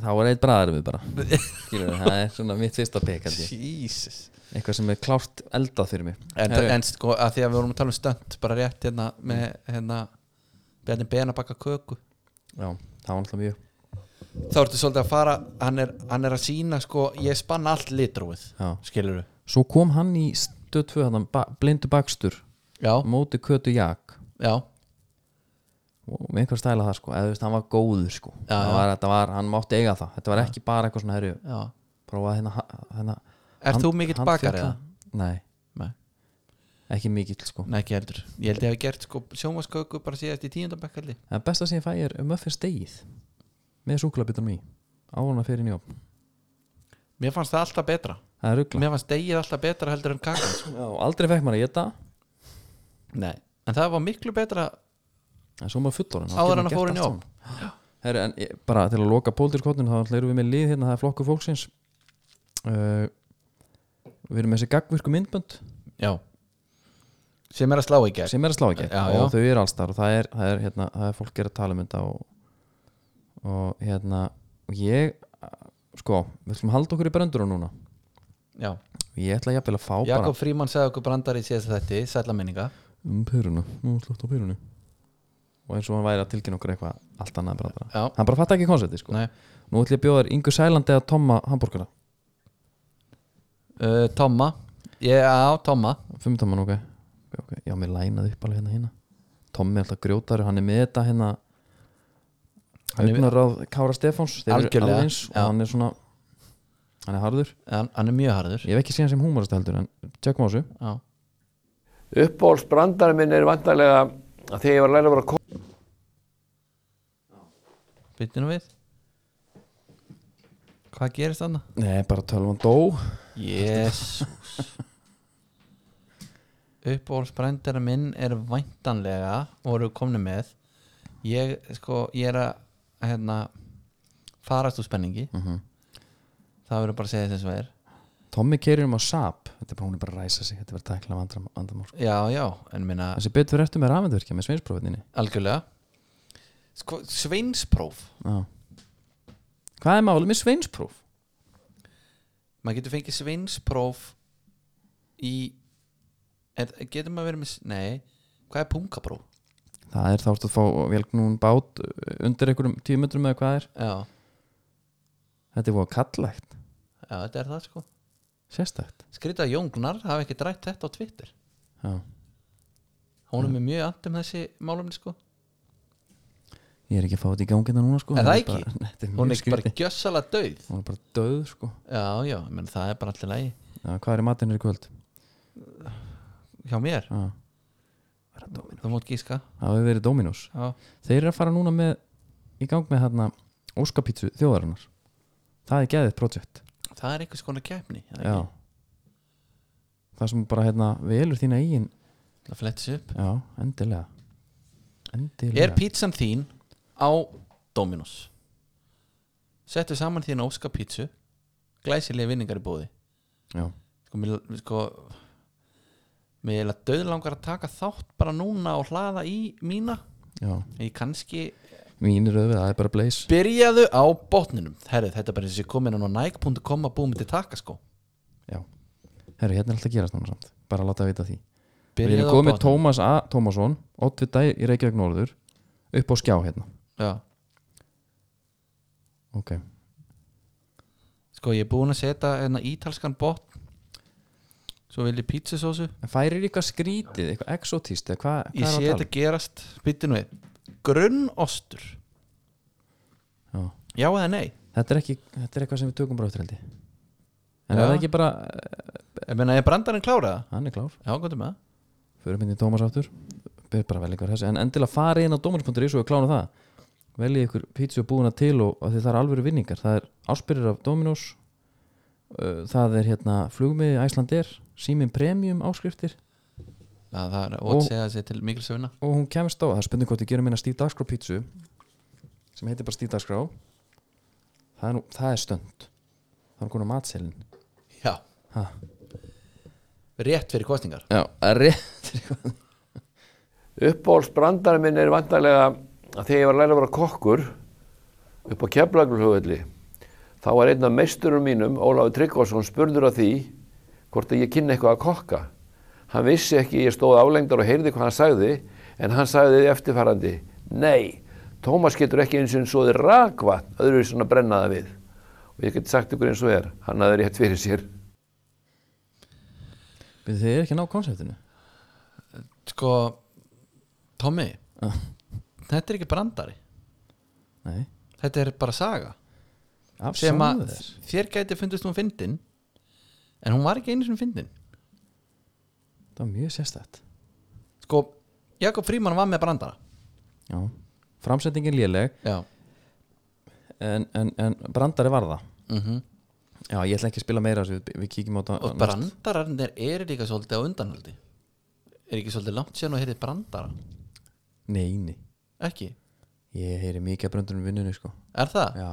Speaker 1: þá er eitt bræðar við bara Skilur, það er svona mitt fyrsta pek held ég.
Speaker 2: Jesus
Speaker 1: eitthvað sem er klárt eldað fyrir mig
Speaker 2: en,
Speaker 1: Herru,
Speaker 2: en sko, að því að við vorum að tala um stönd bara rétt hérna með hérna Bjarni Ben að baka köku
Speaker 1: já, það var alltaf mjög
Speaker 2: þá ertu svolítið að fara, hann er, hann er að sína sko, ég spanna allt litrúið
Speaker 1: já.
Speaker 2: skilur du?
Speaker 1: svo kom hann í stöð 2 hann, ba blindu bakstur
Speaker 2: Já,
Speaker 1: móti kötu jak
Speaker 2: já,
Speaker 1: og með einhver stæla það sko eða þú veist, hann var góður sko
Speaker 2: Já,
Speaker 1: Það
Speaker 2: já.
Speaker 1: var, þetta var, hann mátti eiga það þetta var ekki bara eitthvað svona herju
Speaker 2: já
Speaker 1: prófa hérna, hérna
Speaker 2: Er þú mikill bakari eða?
Speaker 1: nei,
Speaker 2: Nei.
Speaker 1: ekki mikill sko
Speaker 2: Nei, ekki heldur Ég held ég hef gert sko sjónvasköku bara síðast í tíundabekkalli
Speaker 1: En besta sem ég fæ er muffins degið með súkulabitunum í áhuna fyrir njóp
Speaker 2: Mér fannst það alltaf betra
Speaker 1: Það er ruggla
Speaker 2: Mér fannst degið alltaf betra heldur en kakan sko.
Speaker 1: Já, aldrei fekk maður að geta
Speaker 2: Nei En það var miklu betra
Speaker 1: En svo maður fullorinn þá getur
Speaker 2: Áður en að
Speaker 1: maður
Speaker 2: fór
Speaker 1: gert
Speaker 2: inn í
Speaker 1: allt
Speaker 2: ofn.
Speaker 1: saman. Herru, en ég, bara til að loka pólitískotnum þá náttúrulega erum við með lið hérna, það er flokkur fólksins uh, Við erum með þessi gagvirku myndbönd
Speaker 2: Já Sem er að slá í gerð
Speaker 1: sem er að slá ekki
Speaker 2: Já,
Speaker 1: og þau eru allstar og það er, það er, hérna, það er fólk er að tala um þetta og, og hérna og ég, sko við ætlum að halda okkur í bröndur núna
Speaker 2: Já
Speaker 1: og ég ætla jafnvel að fá bara
Speaker 2: Jakob Fríman sagði okkur brandar í síðast þetta Sætla minninga
Speaker 1: um pyruna, nú slútt á pyrunni og eins og hann væri að tilkynna okkur eitthvað allt annað bara
Speaker 2: Já
Speaker 1: hann bara fatt ekki konsepti sko
Speaker 2: Nei
Speaker 1: nú ætlum ég að bjóða þér Ingu Sæland eða Tomma hambúrgara
Speaker 2: uh, Tomma Ég á Tomma
Speaker 1: fimm Tomman ok Ok, já mér lænaði upp alveg hérna hérna Tommi er alltaf grjótari, hann er með þetta hérna
Speaker 2: Hann er-
Speaker 1: augnaráð Kára Stefáns þeir eru
Speaker 2: Algjörlega,
Speaker 1: alveg eins og
Speaker 2: já.
Speaker 1: hann er svona hann er harður,
Speaker 2: Hann, hann er mjög harður
Speaker 1: ég hef ekki séð hann sem húmarasta heldur en tjekkum á þessu
Speaker 2: Já
Speaker 3: Uppbóls brandarinn minn er vantarlega að þegar ég var að læra að vera kokk
Speaker 2: Býttu nú við Hvað gerist þannig?
Speaker 1: Nei, bara tölvan dó
Speaker 2: Jésús Uppbólsbrændara minn er væntanlega voru komni með ég, sko, ég er að hérna, farast úr spenningi það verður bara að segja þess að er
Speaker 1: Mhm. Tommi keirir um á sap þetta er bara, hún er bara að ræsa sig, þetta er bara að tækla vandram, vandamál sko.
Speaker 2: já, já, en minna
Speaker 1: þessi betur eftir með rafendverkja með sveinsprófinni
Speaker 2: algjörlega sko, sveinspróf
Speaker 1: Já. Hvað er málið með sveinspróf?
Speaker 2: maður getur fengið sveinspróf í er, getur maður verið með, s- nei hvað er pungapróf?
Speaker 1: Það er þá ertu að fá velknún bát uh, undir einhverjum tíumetrum eða hvað er
Speaker 2: Já,
Speaker 1: Þetta er búið kallægt,
Speaker 2: já, þetta er það sko
Speaker 1: sérstækt
Speaker 2: skrýta Jóngnar hafi ekki drætt þetta á Twitter
Speaker 1: Já.
Speaker 2: hún er
Speaker 1: Mm.
Speaker 2: með mjög ant um þessi málumni sko
Speaker 1: Ég er ekki að fá þetta í gangi þetta núna sko
Speaker 2: Er það
Speaker 1: Þetta
Speaker 2: ekki?
Speaker 1: bara, þetta er
Speaker 2: hún
Speaker 1: mjög
Speaker 2: er ekki bara
Speaker 1: skrítið.
Speaker 2: gjössala döð
Speaker 1: Hún er bara döð sko
Speaker 2: já, já, menn það er bara allir lægi
Speaker 1: Já, Hvað er í matinu í kvöld?
Speaker 2: hjá mér,
Speaker 1: Já.
Speaker 2: þú mót gíska
Speaker 1: Það hefur verið Dominos
Speaker 2: já,
Speaker 1: Þeir eru að fara núna með, í gang með hérna Óskapítsu þjóðarinnar Það er geðið projekt
Speaker 2: það er einhvers konar keppni er það
Speaker 1: Já.
Speaker 2: ekki?
Speaker 1: Það sem bara hérna velur þína eigin
Speaker 2: það flettis upp
Speaker 1: Já, endilega Endilega
Speaker 2: er pítsan þín á Dominos settu saman þín óska pítsu glæsilega vinningar í bóði
Speaker 1: Já.
Speaker 2: sko, mér, sko mér er döðlangar að taka þátt bara núna og hlaða í mína
Speaker 1: Já,
Speaker 2: ég kannski
Speaker 1: mínir auðvitað, það er bara bleis
Speaker 2: Byrjaðu á botninum Herri, þetta er bara eins og ég kom inn á Nike.com að búið til takka sko
Speaker 1: Já, herru, hérna er alltaf að gerast núna samt bara að láta að vita því Við
Speaker 2: Byrjaðu
Speaker 1: erum
Speaker 2: á
Speaker 1: komið
Speaker 2: botninum.
Speaker 1: Tómas A. Tómasson Oddvita í Reykjavík Norður upp á skjá hérna
Speaker 2: Já.
Speaker 1: Ok,
Speaker 2: Sko, ég er búin að setja hérna ítalskan botn Svo vil ég pítsasósu
Speaker 1: en færir eitthvað skrítið, eitthvað exotist eða hvað hva
Speaker 2: Ég
Speaker 1: er að
Speaker 2: sé
Speaker 1: tala? um?
Speaker 2: þetta gerast Byttinu við Grunnostur
Speaker 1: Já.
Speaker 2: Já eða nei
Speaker 1: Þetta er ekki, þetta er eitthvað sem við tökum bara áttur heldig en
Speaker 2: Já.
Speaker 1: er það ekki bara,
Speaker 2: Ég meina, er brandarinn klárað?
Speaker 1: hann er klár
Speaker 2: Já, gott um það
Speaker 1: fyrir myndin Tómas áttur ber bara vel ykkur þessi, en endilega farið inn á Dómas.is og klána það veljið ykkur pítsu og búina til og, og því það er alvöru vinningar það er áspyrir af Dominos uh, það er hérna flugmiði Æslandir, símin premium áskriftir
Speaker 2: Já, það er
Speaker 1: Og-
Speaker 2: ótt segja sér til mikil söguna
Speaker 1: og hún kemst á, það er spurning hvort ég gerum minna Stíf Dagskrá pítsu sem heitir bara Stíf Dagskrá það er, nú, það er stönd það er konar matselin
Speaker 2: Já
Speaker 1: Ha.
Speaker 2: Rétt fyrir kostningar
Speaker 1: já, rétt
Speaker 3: Uppáhaldsbrandari minn er vantarlega að þegar ég var að læra að vera kokkur upp á Keflagluflugvelli þá var einn af meisturum mínum, Ólafur Tryggvason, spurður að því hvort að ég kynni eitthvað að kokka. Hann vissi ekki, ég stóð álengdar og heyrði hvað hann sagði en hann sagði eftirfarandi Nei, Tómas getur ekki eins og svoði rakvatn öðru svona brennaða við og ég get sagt ykkur eins og er hann hafði rétt fyrir sér.
Speaker 1: þið er ekki að ná konseptinu
Speaker 2: Sko, Tommy
Speaker 1: Já.
Speaker 2: Þetta er ekki brandari
Speaker 1: nei,
Speaker 2: Þetta er bara saga
Speaker 1: af
Speaker 2: sem að
Speaker 1: samúð þess.
Speaker 2: þér gæti fundist hún fyndin en hún var ekki einu sinni fyndin
Speaker 1: það var mjög sérstætt
Speaker 2: Sko, Jakob Fríman var með brandara
Speaker 1: Já, framsetningin léleg
Speaker 2: Já
Speaker 1: en, en, en brandari var það
Speaker 2: mm
Speaker 1: Já, ég ætla ekki að spila meira af þessu, við, við kíkjum á það
Speaker 2: Og brandararnir eru líka svolítið á undanhaldi Er ekki svolítið langt síðan og heyrið brandara
Speaker 1: Nei, nei,
Speaker 2: Ekki,
Speaker 1: ég heyri mikið að bröndunum vinnunni sko
Speaker 2: er það?
Speaker 1: Já,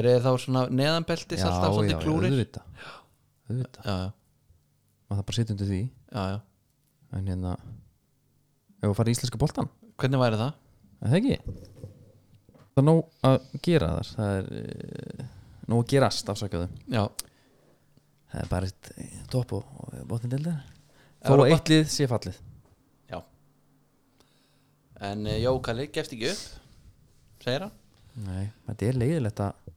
Speaker 2: Eru þeir þá svona neðanbeltis
Speaker 1: já,
Speaker 2: alltaf
Speaker 1: já,
Speaker 2: svolítið klúrir?
Speaker 1: auðvitað Auðvitað,
Speaker 2: já, já,
Speaker 1: maður það bara sitja undir því
Speaker 2: já, já
Speaker 1: En hérna Ef við farið í íslenska boltan,
Speaker 2: Hvernig væri það?
Speaker 1: er það ekki? Það er nóg að gera þar Það er eh, nóg að gerast afsakaðu
Speaker 2: Já,
Speaker 1: Það er bara eitt eh, topp og, og botnið deildar Þó
Speaker 2: Evrópa.
Speaker 1: að eitt lið sé fallið
Speaker 2: já En uh, Jókali gefst ekki upp segir hann
Speaker 1: Nei, þetta er leiðilegt að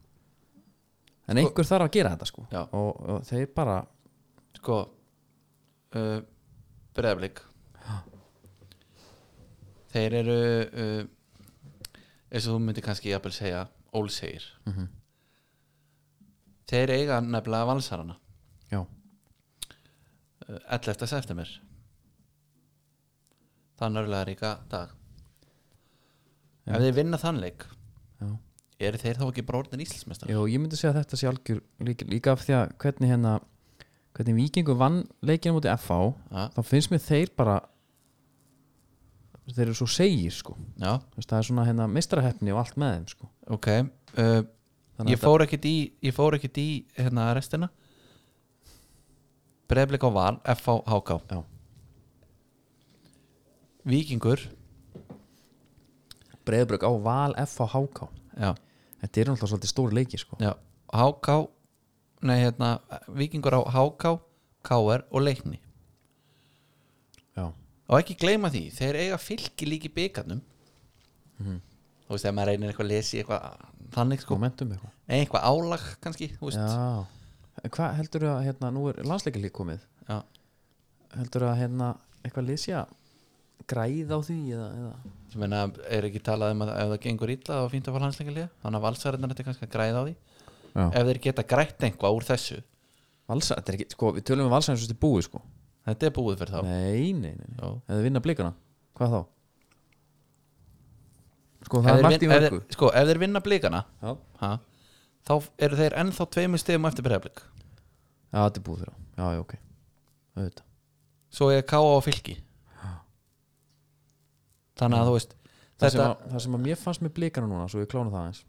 Speaker 1: En einhver þarf að gera þetta sko
Speaker 2: Já.
Speaker 1: og, og þeir bara
Speaker 2: Sko uh, Breiðablik Þeir eru uh, eins og þú myndir kannski jafnvel segja ólsegir Þeir eiga nefnilega valsarana
Speaker 1: Já,
Speaker 2: uh, 11. september Það er nörgulega ríka dag Ef þeir vinna þannleik
Speaker 1: já
Speaker 2: eru þeir þá ekki bróðin Íslandsmeistar
Speaker 1: Jó, ég myndi segja að þetta sé algjör líka, líka af því að hvernig hérna hvernig vikingu vann leikinu múti FH
Speaker 2: Já.
Speaker 1: þá finnst mér þeir bara þeir eru svo segir sko
Speaker 2: Já,
Speaker 1: Þess, það er svona hérna mistrahefni og allt með þeim sko
Speaker 2: ok uh,
Speaker 1: Þannig
Speaker 2: Ég
Speaker 1: að
Speaker 2: fór ekkit í ég fór ekkit í hérna restina Breiðblik á Val FH HK
Speaker 1: Já.
Speaker 2: Víkingur
Speaker 1: Breiðbrögg á Val FH HK
Speaker 2: já,
Speaker 1: Þetta eru náttúrulega svolítið stóri leiki sko
Speaker 2: já, HK Nei, hérna, Víkingur á HK KR og Leikni
Speaker 1: Já,
Speaker 2: og ekki gleyma því, þeir eiga fylki líki byggarnum
Speaker 1: Mhm.
Speaker 2: þú veist, ef maður reynir eitthvað að lesi eitthvað þannig sko,
Speaker 1: momentum eitthvað
Speaker 2: eitthvað álag kannski, þú veist
Speaker 1: Já, En hvað heldur að hérna, nú er landsleikalík komið
Speaker 2: Já.
Speaker 1: heldur að hérna eitthvað liðsja græð á því eða, eða.
Speaker 2: Ég meina, er ekki talað um að ef það gengur illa þá er fínt að fara hansleikalega þannig að valsarinnar þetta kannski að græða á því ef þeir geta grætt einhvað úr þessu
Speaker 1: Valsa, þetta er ekki, sko, við tölum um valsæðin svo þetta er búið sko
Speaker 2: þetta er búið fyrir þá
Speaker 1: nei, nei, nei, nei.
Speaker 2: Já.
Speaker 1: ef þið vinna blikana, hvað þá? sko,
Speaker 2: ef
Speaker 1: það er
Speaker 2: þeir,
Speaker 1: margt í
Speaker 2: vin, ef,
Speaker 1: verku
Speaker 2: þeir, sko, ef þeir vinna blikana
Speaker 1: já,
Speaker 2: ha, þá eru þeir ennþá tveimur stegum eftir breyðablik
Speaker 1: Já, þetta er búið fyrir þá, já, já, ok auðvitað,
Speaker 2: svo er káa á fylki þannig að þú veist
Speaker 1: það, sem
Speaker 2: þetta,
Speaker 1: að, það sem að mér fannst með blikana núna, svo ég klána það eins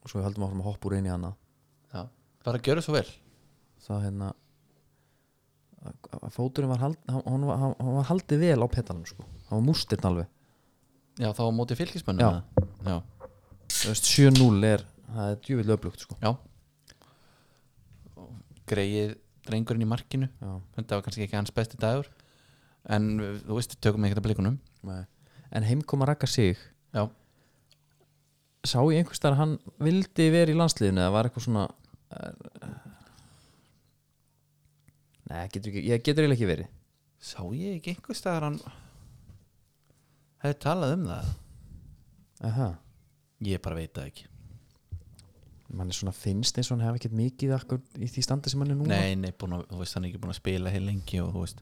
Speaker 1: og svo við höldum áfram að hoppa úr inn í annað
Speaker 2: já, bara gjöru svo vel
Speaker 1: það hérna að- að fóturinn var, hald, hann, hann var, hann var haldið vel á petalum sko hann var mústirn alveg
Speaker 2: já, þá á móti fylkismönnum
Speaker 1: Já.
Speaker 2: eða? já,
Speaker 1: Þú veist, 7-0 er, það er djúvill öflugt sko
Speaker 2: já. Og greið drengurinn í markinu
Speaker 1: Já,
Speaker 2: þetta var kannski ekki hans besti dagur en uh, þú veist, tökum við ekkert að blikunum
Speaker 1: nei. en heimkoma rakka sig
Speaker 2: já,
Speaker 1: sá ég einhvers þar að hann vildi vera í landsliðinu eða var eitthvað svona eh, Nei, getur ekki, ég getur eiginlega ekki verið
Speaker 2: sá ég ekki einhver staðar hann hefði talað um það
Speaker 1: Aha.
Speaker 2: ég bara veit það ekki
Speaker 1: mann er svona finnst eins og hann hefði ekkert mikið akkur í því standi sem hann er núna
Speaker 2: Nei, nei, búin að, þú veist, hann er ekki búin að spila heil lengi og þú veist,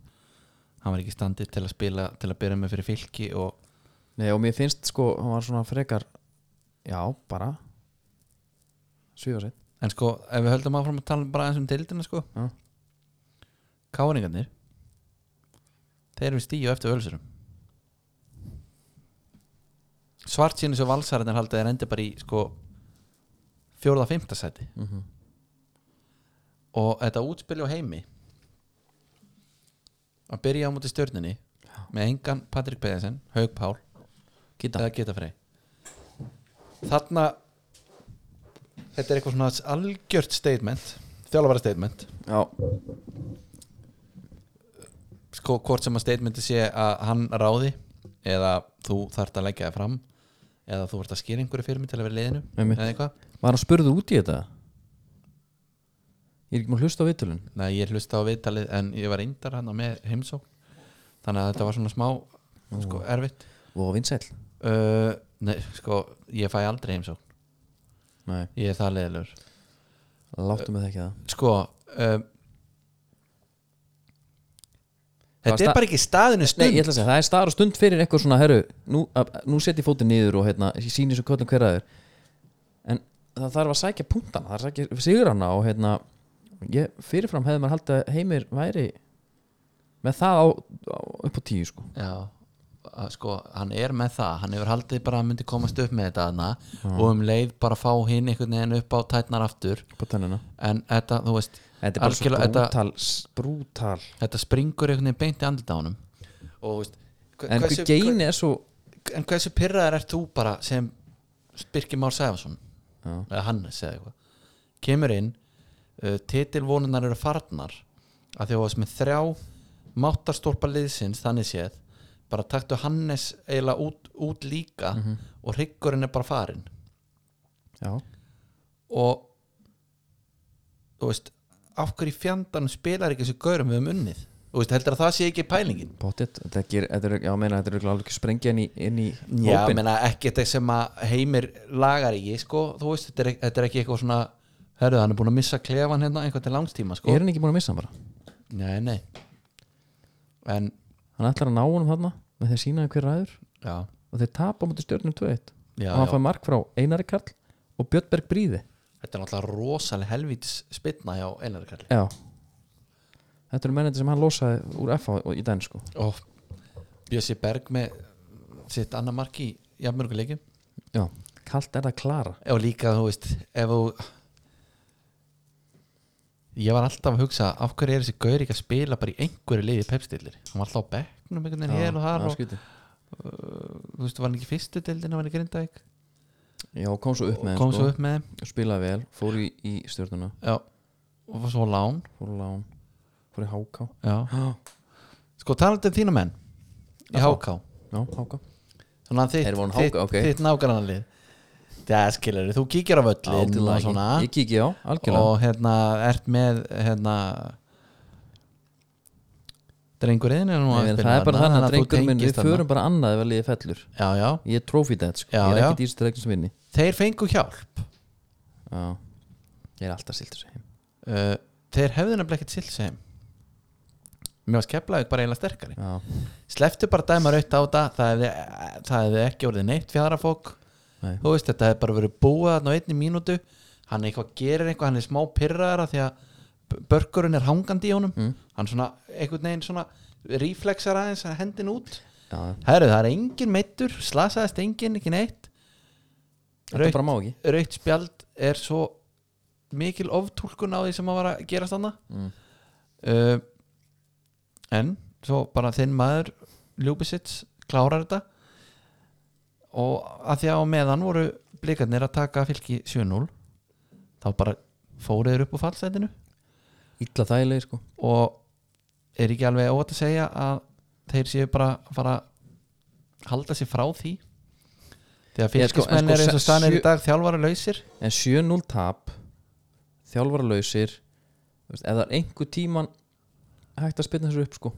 Speaker 2: hann var ekki standið til að spila, til að byrja með fyrir fylki og
Speaker 1: Nei, og mér finnst sko, hann var svona frekar já, bara svífa sér
Speaker 2: en sko, ef við höldum áfram að tala bara eins um deildina sko
Speaker 1: Já.
Speaker 2: Káringarnir þeir eru stíu eftir ölsurum svart sínis og valsararnir haldið er endi bara í sko fjórða fymta sæti
Speaker 1: Mhm.
Speaker 2: og þetta útspili á heimi að byrja á móti stjörninni með engan Patrik Beðinsen, Haug Pál
Speaker 1: Gíta.
Speaker 2: eða Gita Frey þarna þetta er eitthvað svona algjört statement þjálfara statement
Speaker 1: já,
Speaker 2: sko, hvort sem að statementi sé að hann ráði eða þú þarft að leggja það fram eða þú ert að skýra einhverju fyrir mig til að vera í liðinu
Speaker 1: Einmitt.
Speaker 2: eða eitthvað
Speaker 1: var hann spurður út í þetta? Ég er ekki maður hlusta á vitulun
Speaker 2: Nei, ég hlusta á viðtalið en ég var reyndar hann með heimsók þannig að þetta var svona smá sko, erfitt
Speaker 1: og vinsæll
Speaker 2: uh, Nei, sko, ég fæ aldrei heimsók
Speaker 1: Nei,
Speaker 2: ég er það leiðilur
Speaker 1: láttu mig það ekki það
Speaker 2: Sko uh,
Speaker 1: Hvað
Speaker 2: Þetta
Speaker 1: sta-
Speaker 2: er bara ekki staðinu
Speaker 1: Nei, ég
Speaker 2: stund
Speaker 1: ætla að segja, það er staðar og stund fyrir eitthvað svona herru, nú, að, nú setjum fótinn niður og hérna, ég sýni svo kvöldum hver aður en það þarf að sækja punktana það þarf að sækja sigurana og hérna ég, fyrirfram hefði maður haldið að heimir væri með það á, á, upp á tíu sko
Speaker 2: Já, að sko, hann er með það hann hefur haldið bara að hann myndi komast upp með þetta hana, og um leið bara fá hinn einhvern veginn upp á tætnar aftur
Speaker 1: upp á tennina
Speaker 2: en þetta, þú veist,
Speaker 1: Þetta er bara svo
Speaker 2: Algjörlega, þetta-
Speaker 1: brútal, brútal.
Speaker 2: þetta springur einhvern veginn beint í andlita á honum og þú veist hve-
Speaker 1: En hversu, gein er svo
Speaker 2: hve- en hversu pyrraðar ert þú bara sem Birkir Már Sæfason eða Hannes eða eitthvað kemur inn, uh, titilvonunar eru farnar að því að þú varst með þrjá máttarstólpa liðsins þannig séð, bara taktu Hannes eiginlega út, út líka og hryggurinn er bara farinn
Speaker 1: Já,
Speaker 2: og þú veist, af hverju í fjandanum spilar ekki þessu gaurum við um unnið þú veist, heldur að það sé ekki pælingin
Speaker 1: pottitt Þetta ger, þetta er, já, meina, þetta er örugglega alveg sprengja inn í, inn í
Speaker 2: Já,
Speaker 1: hópinn.
Speaker 2: menna ekki þetta sem að heimir lagar ekki, sko, þú veist þetta er, ek- þetta er ekki eitthvað svona, herðu, hann er búin að missa klefan hérna einhvern til langstíma, sko
Speaker 1: Er hann ekki búin að missa hann bara?
Speaker 2: Nei, nei En,
Speaker 1: Hann ætlar að ná honum þarna með þeir sínaði hver ræður
Speaker 2: já,
Speaker 1: og þeir tapa á mútið stjörnum 2-1
Speaker 2: Já,
Speaker 1: og hann
Speaker 2: já.
Speaker 1: fær mark frá Einari Karl og Björnberg Bríði
Speaker 2: þetta er náttúrulega rosalega helvítis spytna hjá Einari Karli
Speaker 1: Já Þetta eru mennandi sem hann losaði úr FH og- í den sko
Speaker 2: Og Bjössi Berg með sitt annað mark í jafnmörgu leikum
Speaker 1: Já, kalt er það klara
Speaker 2: Og líka, þú veist, ef þú Ég var alltaf að hugsa af hverju er þessi gaur ekki að spila bara í einhverju liði pepstillir Hann var alltaf á bekknum einhvern veginn hér og þar og,
Speaker 1: skrítið.
Speaker 2: þú veist, var hann ekki í fyrstu deildin var hann í Grindavík
Speaker 1: Já, kom svo upp
Speaker 2: og
Speaker 1: með
Speaker 2: kom
Speaker 1: þeim
Speaker 2: svo
Speaker 1: sko
Speaker 2: upp með þeim
Speaker 1: og spilaði vel, fór í, í stjörnuna
Speaker 2: já, og var svo á lán
Speaker 1: fór á lán, fór í háká
Speaker 2: já. sko talandi um þína menn í HK
Speaker 1: Já, háká
Speaker 2: þannig að þitt,
Speaker 1: Þeir voru
Speaker 2: þitt,
Speaker 1: HK, ok.
Speaker 2: þitt nágrannanlið það skilur þú kíkir á völlin
Speaker 1: Algjörlega
Speaker 2: og
Speaker 1: ekki.
Speaker 2: svona
Speaker 1: Ég kíkja á, algjörlega
Speaker 2: og hérna ert með hérna drengurinn er nú
Speaker 1: Nei,
Speaker 2: að
Speaker 1: en
Speaker 2: spila
Speaker 1: Það er bara þannig
Speaker 2: þarna, þannig
Speaker 1: að
Speaker 2: þú
Speaker 1: drengurinn minn,
Speaker 2: tengist
Speaker 1: við
Speaker 2: þarna.
Speaker 1: förum bara annað ef að liðið fellur
Speaker 2: já, já.
Speaker 1: Ég er trophy dad sko,
Speaker 2: Já,
Speaker 1: ég er
Speaker 2: já.
Speaker 1: ekkert í þessu dregnum sem vinni
Speaker 2: þeir fengu hjálp
Speaker 1: Já, ég er alltaf siltur heim
Speaker 2: uh, þeir hefðu nefnilega ekkert silt sem mér var skeflaðið bara eiginlega sterkari
Speaker 1: Já,
Speaker 2: sleftu bara dæma raut á þetta það hefði, það hefði ekki orðið neitt fjarafók
Speaker 1: Nei.
Speaker 2: þú veist þetta hefði bara verið búið þarna á einni mínútu hann eitthvað gerir eitthvað, hann er smá pirraðara því að b- börkurinn er hangandi í honum
Speaker 1: Mm.
Speaker 2: hann svona, einhvern veginn svona reflexar aðeins hendin út
Speaker 1: já,
Speaker 2: herru það er engin meittur, slasaðist engin ekki neitt
Speaker 1: þetta bara má ekki
Speaker 2: raukt spjald er svo mikil oftúlkun á því sem að var að gerast þarna
Speaker 1: Mm.
Speaker 2: uh, en svo bara þinn maður Ljúbisits klárar þetta og að því að á meðan voru blikarnir að taka fylki 7-0 þá bara fóruður upp úr fallsetinu
Speaker 1: Ítla þægilegir sko
Speaker 2: og er ekki alveg óvægt að segja að þeir séu bara að fara að halda sér frá því þegar
Speaker 1: Ég, sko, en
Speaker 2: fylgismenn
Speaker 1: sko,
Speaker 2: er eins og stanir
Speaker 1: sjö-
Speaker 2: í dag þjálfara lausir
Speaker 1: En 7-0 tap Þjálfara lausir þú veist, Ef það er einhver tíman Hægt að spilna þessu upp sko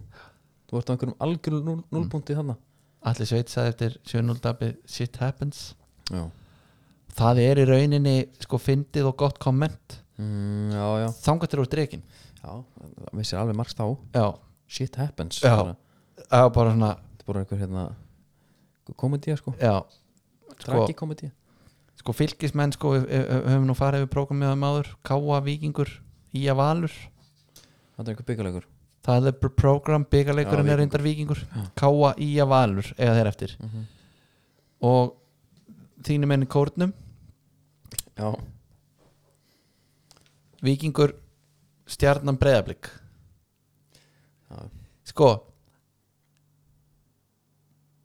Speaker 1: Þú ert á einhverjum algjörl
Speaker 2: Mm.
Speaker 1: 0 punkti þannig
Speaker 2: Allir sveit sagði eftir 7-0 dabbi shit happens
Speaker 1: Já
Speaker 2: það er í rauninni sko fyndið og gott komment
Speaker 1: mm, já, já,
Speaker 2: þangar til úr drekin
Speaker 1: já það missir alveg margs þá
Speaker 2: já,
Speaker 1: shit happens
Speaker 2: Já.
Speaker 1: Svona,
Speaker 2: það var bara svona
Speaker 1: þetta er bara einhver hérna komedía sko,
Speaker 2: já, sko,
Speaker 1: dragi komedía
Speaker 2: sko fylgismenn sko við- við- við höfum nú farið við prógrammiðum áður Káa Víkingur, Ía Valur
Speaker 1: þetta er einhver byggulegur
Speaker 2: það er bara program, byggarleikurinn
Speaker 1: Já, Víkingur.
Speaker 2: er reyndar Víkingur Káa, Ía Valur, eiga þeir eftir
Speaker 1: Mhm.
Speaker 2: og þínu menn í kórnum
Speaker 1: já,
Speaker 2: Víkingur stjarnan breyðablík
Speaker 1: Já.
Speaker 2: sko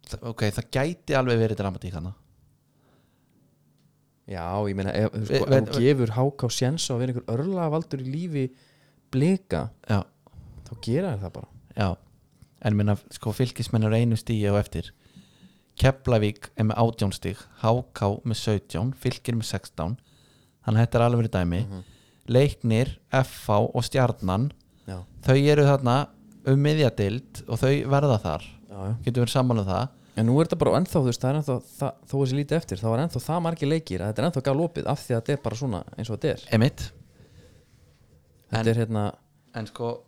Speaker 2: þa- ok, það gæti alveg verið dramatík hana
Speaker 1: já, ég meina ef, sko,
Speaker 2: Ve-
Speaker 1: ef
Speaker 2: ve-
Speaker 1: hún gefur háká sjens á að vera einhver örlavaldur í lífi blika,
Speaker 2: já,
Speaker 1: þá gera þær það bara
Speaker 2: já en minna, sko, fylgismenn er einu stíi og eftir Keflavík er með 18 stíg HK með 17, Fylgir með 16 þannig að þetta er alveg verið dæmi
Speaker 1: Mhm.
Speaker 2: Leiknir, FH og Stjarnan
Speaker 1: já,
Speaker 2: þau eru þarna um miðjadild og þau verða þar
Speaker 1: já, já
Speaker 2: getum við sammálað það
Speaker 1: En nú er þetta bara ennþá, þú veist, það er ennþá það, þó þessi lítið eftir, þá er ennþá það margir leikir að þetta er ennþá gaf lopið af því að þetta er bara svona eins og þetta er
Speaker 2: Emitt
Speaker 1: Þetta er hérna,
Speaker 2: En sko,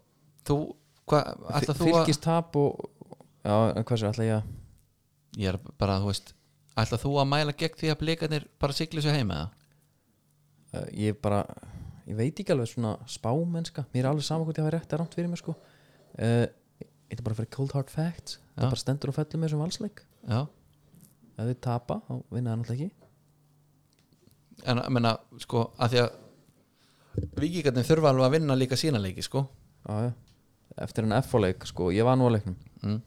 Speaker 2: þú hvað, ætla þú að
Speaker 1: fylgist tap og já, en hversu, ætla ég að
Speaker 2: Ég er bara, þú veist ætla þú að mæla gegn því að blikarnir bara sigli svo heim eða?
Speaker 1: uh, ég bara, ég veit ekki alveg svona spámennska, mér er alveg saman hvort ég hafa rétt að rámt fyrir mér sko uh, Þetta er bara fyrir cold hard facts
Speaker 2: Já.
Speaker 1: það bara stendur og fellur með þessum valsleik
Speaker 2: Já,
Speaker 1: ef þið tapa, þá vinna það náttúrulega ekki
Speaker 2: en að menna, sko að því að vikingarnir þurfa alveg að vinna líka sína leiki, sko
Speaker 1: já, já. Eftir hann F-leik, sko, ég var nú á leiknum
Speaker 2: mm.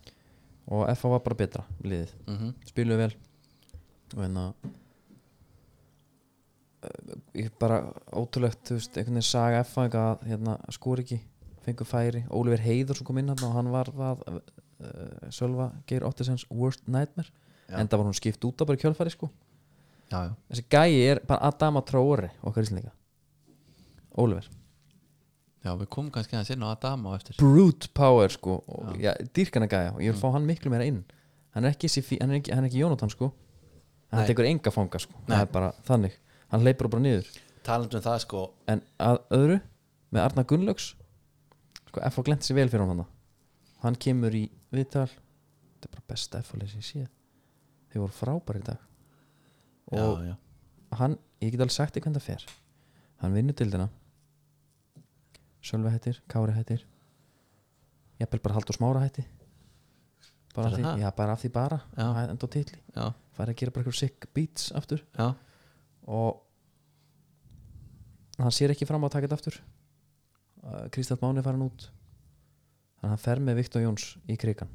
Speaker 1: og F var bara betra, liðið
Speaker 2: Mm
Speaker 1: spiluðu vel og hérna eh, ég bara ótrúlegt þú veist, einhvern veginn saga F að hérna, skor ekki, fengur færi Ólífer Heiður sem kom inn hann og hann var það uh, Sölva Geir Ottisens worst nightmare,
Speaker 2: Já.
Speaker 1: enda var hún skipt út af bara í kjölfæri sko,
Speaker 2: Já, já,
Speaker 1: þessi gæi er bara Adama Tróri okkar íslendinga Ólífer,
Speaker 2: já, við komum kannski aðeins inn á Adama á eftir
Speaker 1: brute power sko, og, já, dýrkana gæja
Speaker 2: Mm.
Speaker 1: og ég vil fá hann miklu meira inn hann er ekki, þessi fí- hann er ekki, hann er ekki Jónatan sko hann
Speaker 2: Nei.
Speaker 1: tekur enga fanga sko,
Speaker 2: Nei.
Speaker 1: það er bara þannig hann leipur bara niður
Speaker 2: Talandi um það, sko
Speaker 1: en að öðru með Arna Gunnlaugs sko F.O. glemt sér vel fyrir hann hann kemur í viðtal þetta er bara besta F.O. leið sem ég sé þeir voru frábæri í dag
Speaker 2: Já,
Speaker 1: og
Speaker 2: já,
Speaker 1: hann, ég get alveg sagt þér hvernig það fer hann vinnur dildina Sölve hættir, Kári hættir jafnvel bara Haldur Smára hætti bara af
Speaker 2: Er
Speaker 1: því,
Speaker 2: það?
Speaker 1: já bara af því bara
Speaker 2: Já.
Speaker 1: Það er enda á titli,
Speaker 2: já,
Speaker 1: fær að gera bara eitthvað sick beats aftur
Speaker 2: já,
Speaker 1: og hann sér ekki fram á að taka þetta aftur Uh, Kristall Máni er farin út þannig að hann fer með Viktor Jóns í krigan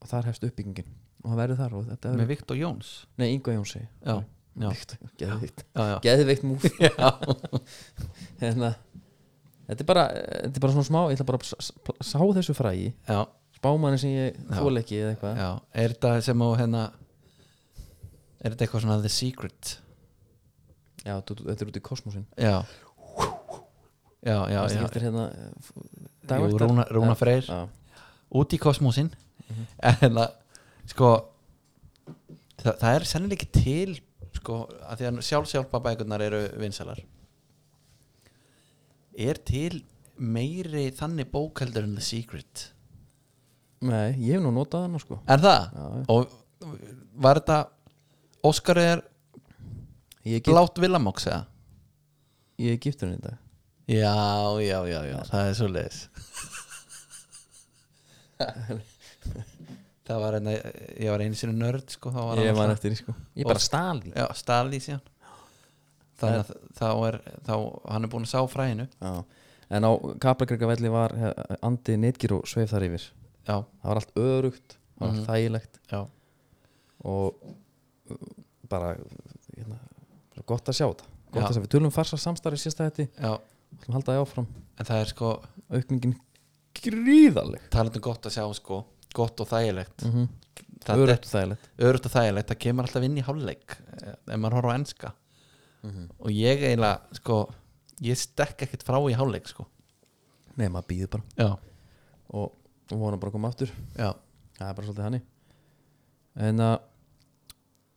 Speaker 1: og þar hefst uppbyggingin og hann verður þar og þetta
Speaker 2: með
Speaker 1: er,
Speaker 2: Viktor Jóns
Speaker 1: nei, Ingo Jóns segi ég.
Speaker 2: Já, já,
Speaker 1: Viktor, geðvikt
Speaker 2: já, já,
Speaker 1: geðveikt múf hérna, þetta er bara þetta er bara svona smá, ég ætla bara að s- s- sá þessu frægi,
Speaker 2: já.
Speaker 1: spámanni sem ég
Speaker 2: Já.
Speaker 1: þól ekki eða eitthvað,
Speaker 2: Já, er þetta sem á hérna Er þetta eitthvað svona The Secret
Speaker 1: já, þú- þú- þetta er út í kosmosin
Speaker 2: Já Já,
Speaker 1: það
Speaker 2: já, já
Speaker 1: skiptir hérna
Speaker 2: Jú,
Speaker 1: dagvægt
Speaker 2: Rúna, Rúna Freyr Út í kosmósin En að, sko það, það er sennilega ekki til sko, að því að sjálfsjálpa bækurnar eru vinsalar Er til meiri þannig bókaldur en The Secret
Speaker 1: Nei, ég hef nú notað hana sko
Speaker 2: Er það?
Speaker 1: Já, já.
Speaker 2: Og var þetta Óskar er
Speaker 1: Ég er
Speaker 2: blátt vilamóks eða?
Speaker 1: giftur henni í dag
Speaker 2: Já, já, já, já, það er svo leiðis Það var enn ég var einu sinni nörd sko, þá var
Speaker 1: Ég
Speaker 2: hann
Speaker 1: man
Speaker 2: alltaf-
Speaker 1: eftir því sko Ég bara stal því
Speaker 2: Já, stalið síðan Þannig að þá er þá, hann er búin að sá fræðinu
Speaker 1: Já. En á Kaplakrikavelli var eh, Andi Nitgir og sveif þar yfir
Speaker 2: Já,
Speaker 1: Það var allt örugt, það
Speaker 2: Mhm.
Speaker 1: var allt þægilegt
Speaker 2: já,
Speaker 1: og uh, bara hérna, bara gott að sjá þetta gott
Speaker 2: Já.
Speaker 1: að sjá, við tölum um farsa samstarfi sérsta þetta
Speaker 2: já
Speaker 1: ætlum að halda það áfram,
Speaker 2: En það er sko,
Speaker 1: aukningin gríðaleg
Speaker 2: talandi um gott að sjá sko gott og þægilegt
Speaker 1: mm -hmm.
Speaker 2: Það er
Speaker 1: örugt og þægilegt
Speaker 2: örugt og þægilegt, það kemur alltaf inn í hálfleik eh, ef maður horfa á enska og ég eiginlega, sko ég stekk ekkert frá í hálfleik sko
Speaker 1: Nei, maður býður bara
Speaker 2: Já,
Speaker 1: og og vona bara að koma aftur
Speaker 2: já
Speaker 1: Það er bara svolítið hannig En að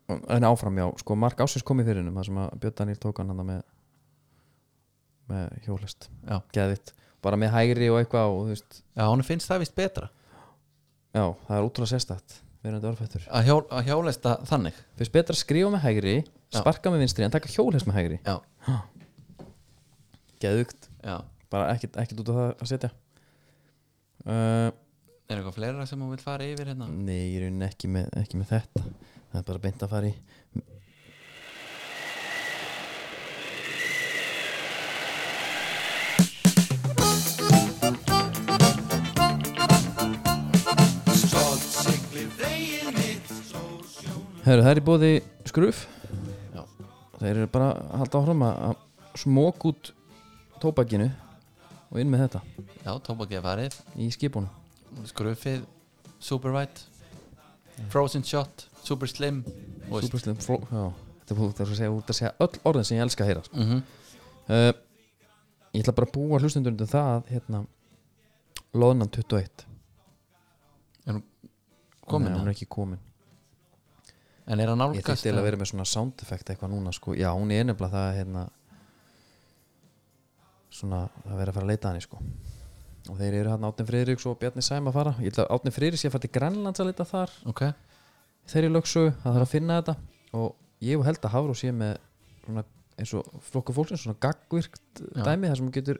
Speaker 1: uh, en áfram já, sko Mark Ásins kom í fyrirnum það sem að Björn Daniel tók hann hann með með hjólest
Speaker 2: Já.
Speaker 1: geðvitt, bara með hægri og eitthvað og þú veist,
Speaker 2: Já, hún finnst það vist betra
Speaker 1: já, það er útrúlega sérstætt verðandi orðfættur,
Speaker 2: að, hjól, að hjólesta þannig
Speaker 1: finnst betra að skrifa með hægri sparka með vinstri en taka hjólest með hægri
Speaker 2: Já,
Speaker 1: geðvikt,
Speaker 2: já
Speaker 1: bara ekkert, ekkert út á það að setja uh,
Speaker 2: Er eitthvað fleira sem hún vil fara yfir hérna?
Speaker 1: nei, ég er raunin ekki með, ekki með þetta það er bara beint að fara í Herru, það er í bóði skruf
Speaker 2: Já.
Speaker 1: Þeir eru bara að halda áfram að- að smók út tóbakinu og inn með þetta
Speaker 2: Já, tóbakið er farið
Speaker 1: í skipunum
Speaker 2: Skrufið, Super White Frozen Shot, Super Slim og veist-
Speaker 1: Súperslim fló Já, þetta er búið að segja út að segja öll orðin sem ég elska að heyra sko.
Speaker 2: Mhm.
Speaker 1: uh, Ég ætla bara að búa hlustendur undir það að hérna Lóðnan 21
Speaker 2: Komin
Speaker 1: Nei, hún
Speaker 2: það
Speaker 1: er ekki komin
Speaker 2: En er hann
Speaker 1: Ég
Speaker 2: nálgast?
Speaker 1: þýtti eiginlega að vera með svona sound effect eitthvað núna sko. Já, hún er nefnilega það hérna svona að vera að fara að leita að henni sko. og þeir eru hérna Átni Friðriks og Bjarni Sæm að fara ég ætla að Átni Friðriks ég að fara til Grænlands að leita þar
Speaker 2: Ok,
Speaker 1: þeirri lögsögu, það þarf að finna þetta og ég og held að Hafró sé með svona, eins og flokku fólksins svona gaggvirkt
Speaker 2: Já.
Speaker 1: dæmi þar sem hún getur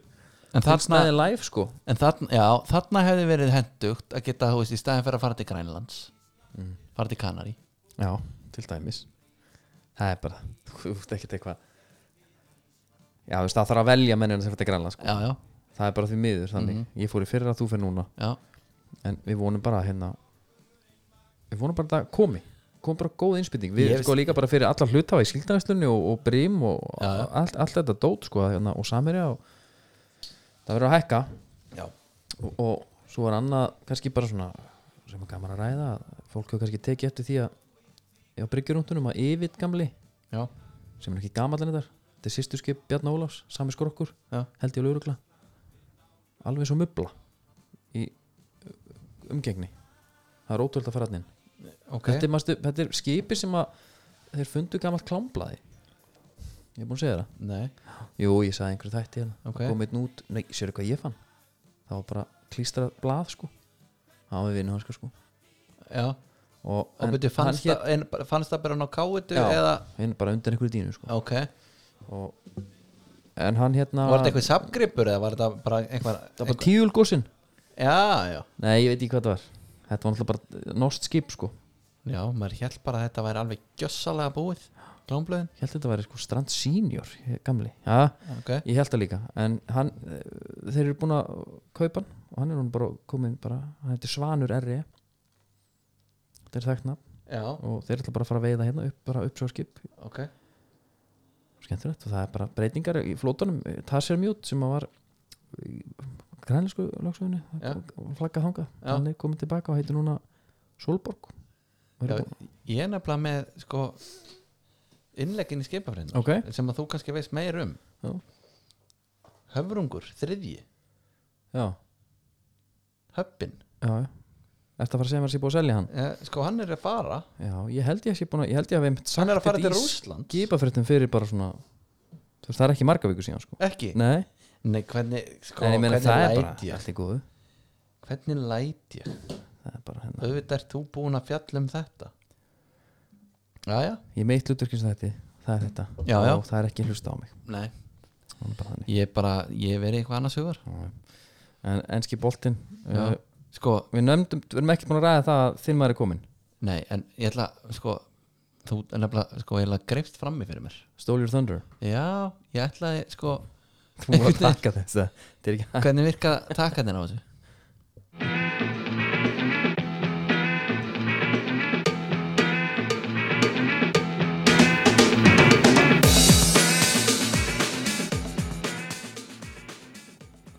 Speaker 2: en þarna,
Speaker 1: snæði live sko
Speaker 2: en þarna, já, þarna hefði verið hendugt að geta, þú veist, í staðin fyrir að fara til Grænlands
Speaker 1: Mm.
Speaker 2: fara til Kanari
Speaker 1: já, til dæmis það er bara, þú veist ekkert eitthvað já, þú veist það þarf að velja mennina sem fyrir grænland sko,
Speaker 2: Já, já,
Speaker 1: það er bara því miður þannig, ég fór í fyrra, þú fyrir núna
Speaker 2: já,
Speaker 1: en við vonum bara að hérna við vonum bara að það komi kom bara góð innspýting, við
Speaker 2: Ég
Speaker 1: sko líka bara fyrir alla hlutafa í skildanæslunni og, og brím og
Speaker 2: Já, já.
Speaker 1: allt, allt þetta dót sko að hérna, og samirja og það verður að hækka
Speaker 2: já.
Speaker 1: og, og svo er annað kannski bara svona sem er gaman að ræða að fólk hefur kannski tekið eftir því að á bryggjurúntunum að yfir gamli
Speaker 2: já.
Speaker 1: sem er ekki gamall en þetta þetta er sýsturskip Bjarn Ólafs, sami skrokkur
Speaker 2: Já.
Speaker 1: held ég alveg örugla alveg svo mubla í uh, umgengni það er ótrúld að fara hann inn
Speaker 2: ok
Speaker 1: þetta, er, manstu, þetta er skipi sem að þeir fundu gammalt klámblaði ég er búin að segja það
Speaker 2: Nei,
Speaker 1: jú, ég sagði einhverju þætti hérna
Speaker 2: Ok.
Speaker 1: okay. kom einn út, nei, sér hvað ég fann það var bara klístrað blað sko það var við vinnu hans sko
Speaker 2: já
Speaker 1: og,
Speaker 2: Og byrju, fannst, það- en bara- fannst það bara ná káitu
Speaker 1: Já.
Speaker 2: eða,
Speaker 1: hinn bara undan einhverju dínu sko
Speaker 2: ok
Speaker 1: og, en hann hérna
Speaker 2: Var þetta eitthvað sapgripur eða var þetta bara einhver
Speaker 1: það var bara tíulgósin
Speaker 2: Já, já,
Speaker 1: Nei, ég veit ekki hvað það var Þetta var náttúrulega bara norst skip sko
Speaker 2: já, maður held bara að þetta væri alveg gjössalega búið Glámblöðin,
Speaker 1: Ég held að þetta væri sko Strand Senior eh, Gamli, ja,
Speaker 2: ok
Speaker 1: ég held það líka En hann, eh, þeir eru búin að kaupa hann Og hann er hún bara komin bara Hann heitir Svanur R.E. Þetta er þekkna
Speaker 2: Já,
Speaker 1: Og þeir ætla bara að fara að veiða hérna upp, bara upp svo skip
Speaker 2: ok
Speaker 1: Skemmtilegt og það er bara breytingar í flótunum Tassir Mjút sem að var Grænlísku lagsögunni
Speaker 2: Já.
Speaker 1: Flaggað þangað,
Speaker 2: Já.
Speaker 1: hann er komin tilbaka Og heitir núna Solborg Og
Speaker 2: já,
Speaker 1: er búin-
Speaker 2: Ég er nefnilega með sko, innleggin í skipafræðinu
Speaker 1: Ok.
Speaker 2: sem að þú kannski veist meir um
Speaker 1: Já.
Speaker 2: Höfrungur, þriðji,
Speaker 1: Já.
Speaker 2: höppin
Speaker 1: Já, já. Ertu að fara að segja mér að sé búið að selja hann?
Speaker 2: eh, Sko hann er að fara
Speaker 1: Já, ég held ég að sé búin að, ég held ég að við einmitt
Speaker 2: Hann er að fara
Speaker 1: þetta
Speaker 2: til
Speaker 1: í
Speaker 2: Rússlands.
Speaker 1: skipafréttum fyrir bara svona Þú veist, það er ekki marga viku síðan, sko
Speaker 2: Ekki?
Speaker 1: Nei,
Speaker 2: Nei, hvernig, sko,
Speaker 1: en ég meina
Speaker 2: hvernig
Speaker 1: það er
Speaker 2: læt
Speaker 1: bara
Speaker 2: ég
Speaker 1: allt í góðu
Speaker 2: Hvernig læt ég
Speaker 1: Það er bara hérna
Speaker 2: Auðvitað ert þú búin að fjalla um þetta Jæja,
Speaker 1: Ég meitt hlutverkinn sem þetta, það er þetta
Speaker 2: Já, já.
Speaker 1: Og það er ekki hlusta á mig
Speaker 2: nei
Speaker 1: Það er bara þannig
Speaker 2: Ég er bara, ég verið eitthvað annars hugar
Speaker 1: En enski boltinn uh,
Speaker 2: Já. Sko,
Speaker 1: Við nöfndum, við erum ekki búin að ræða það að þinn maður er kominn
Speaker 2: nei, en ég ætla, sko Þú er nefnilega, sko, ég ætla greifst frammi fyrir mér
Speaker 1: Stole your thunder
Speaker 2: Já, ég ætlaði, sko
Speaker 1: Þú var að
Speaker 2: Einhvern
Speaker 1: taka þess að Þetta er ekki
Speaker 2: Hvernig virka takarnir á þessu?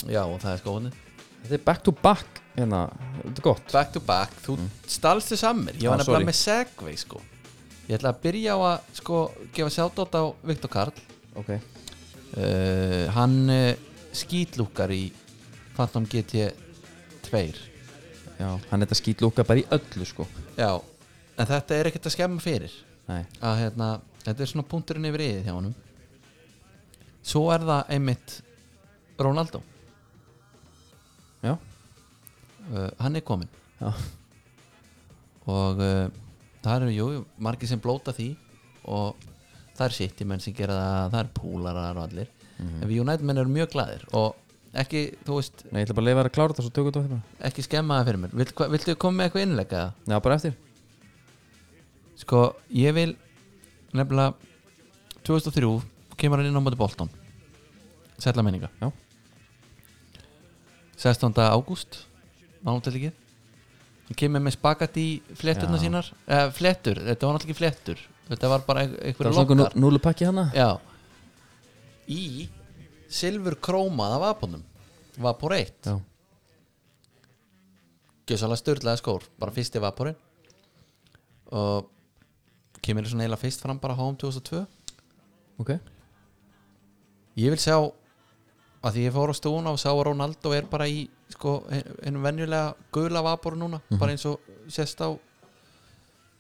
Speaker 2: Já, og það er sko, skóðunni
Speaker 1: Þetta er back to back Hérna, þetta er gott
Speaker 2: Back to back, þú mm. stalst þess að mér Ég var
Speaker 1: Ah,
Speaker 2: nefnilega
Speaker 1: sorry.
Speaker 2: með segvei, sko Ég ætla að byrja á að, sko, gefa sjátt á Viktor Karl
Speaker 1: Ok
Speaker 2: uh, Hann uh, skýtlúkar í Phantom GT 2
Speaker 1: Já, hann er þetta skýtlúka bara í öllu, sko
Speaker 2: Já, en þetta er ekkert að skemma fyrir
Speaker 1: Nei,
Speaker 2: að hérna, þetta er svona punkturinn yfir yfir hjá honum svo er það einmitt Ronaldo,
Speaker 1: já,
Speaker 2: uh, hann er kominn
Speaker 1: já,
Speaker 2: og uh, það eru jú, jú, margir sem blóta því og það er sitt í menn sem gera það, það er púlarar og allir en við United menn eru mjög glæðir og ekki, þú veist,
Speaker 1: Nei, ég ætla bara að leifa þér að klára þetta svo tökum við þetta hérna.
Speaker 2: ekki skemma það fyrir mér Vilt, hva, viltu koma með eitthvað innleika það?
Speaker 1: Já, bara eftir
Speaker 2: Sko, ég vil nefnilega 2003 kemur hann inn á móti Bolton Sætla menninga
Speaker 1: Já.
Speaker 2: 16. ágúst Mánutelíkið Hann kemur með spagat í fletturna
Speaker 1: Já.
Speaker 2: sínar eh, Flettur, þetta var náttúrulega ekki flettur Þetta var bara ein-
Speaker 1: Það
Speaker 2: einhverja
Speaker 1: var svona
Speaker 2: lokkar
Speaker 1: nú- núlupakki hana
Speaker 2: Já Í silfur krómað af apunum Vapor 1
Speaker 1: Já,
Speaker 2: Gjössalega störðlega skór, bara fyrsti vaporinn Og kemur svona eiginlega fyrst fram bara Home 2002
Speaker 1: ok
Speaker 2: Ég vil sjá að því ég fór á stúna og sá að Ronaldo er bara í sko, hennum venjulega gula vapor núna, bara eins og sést á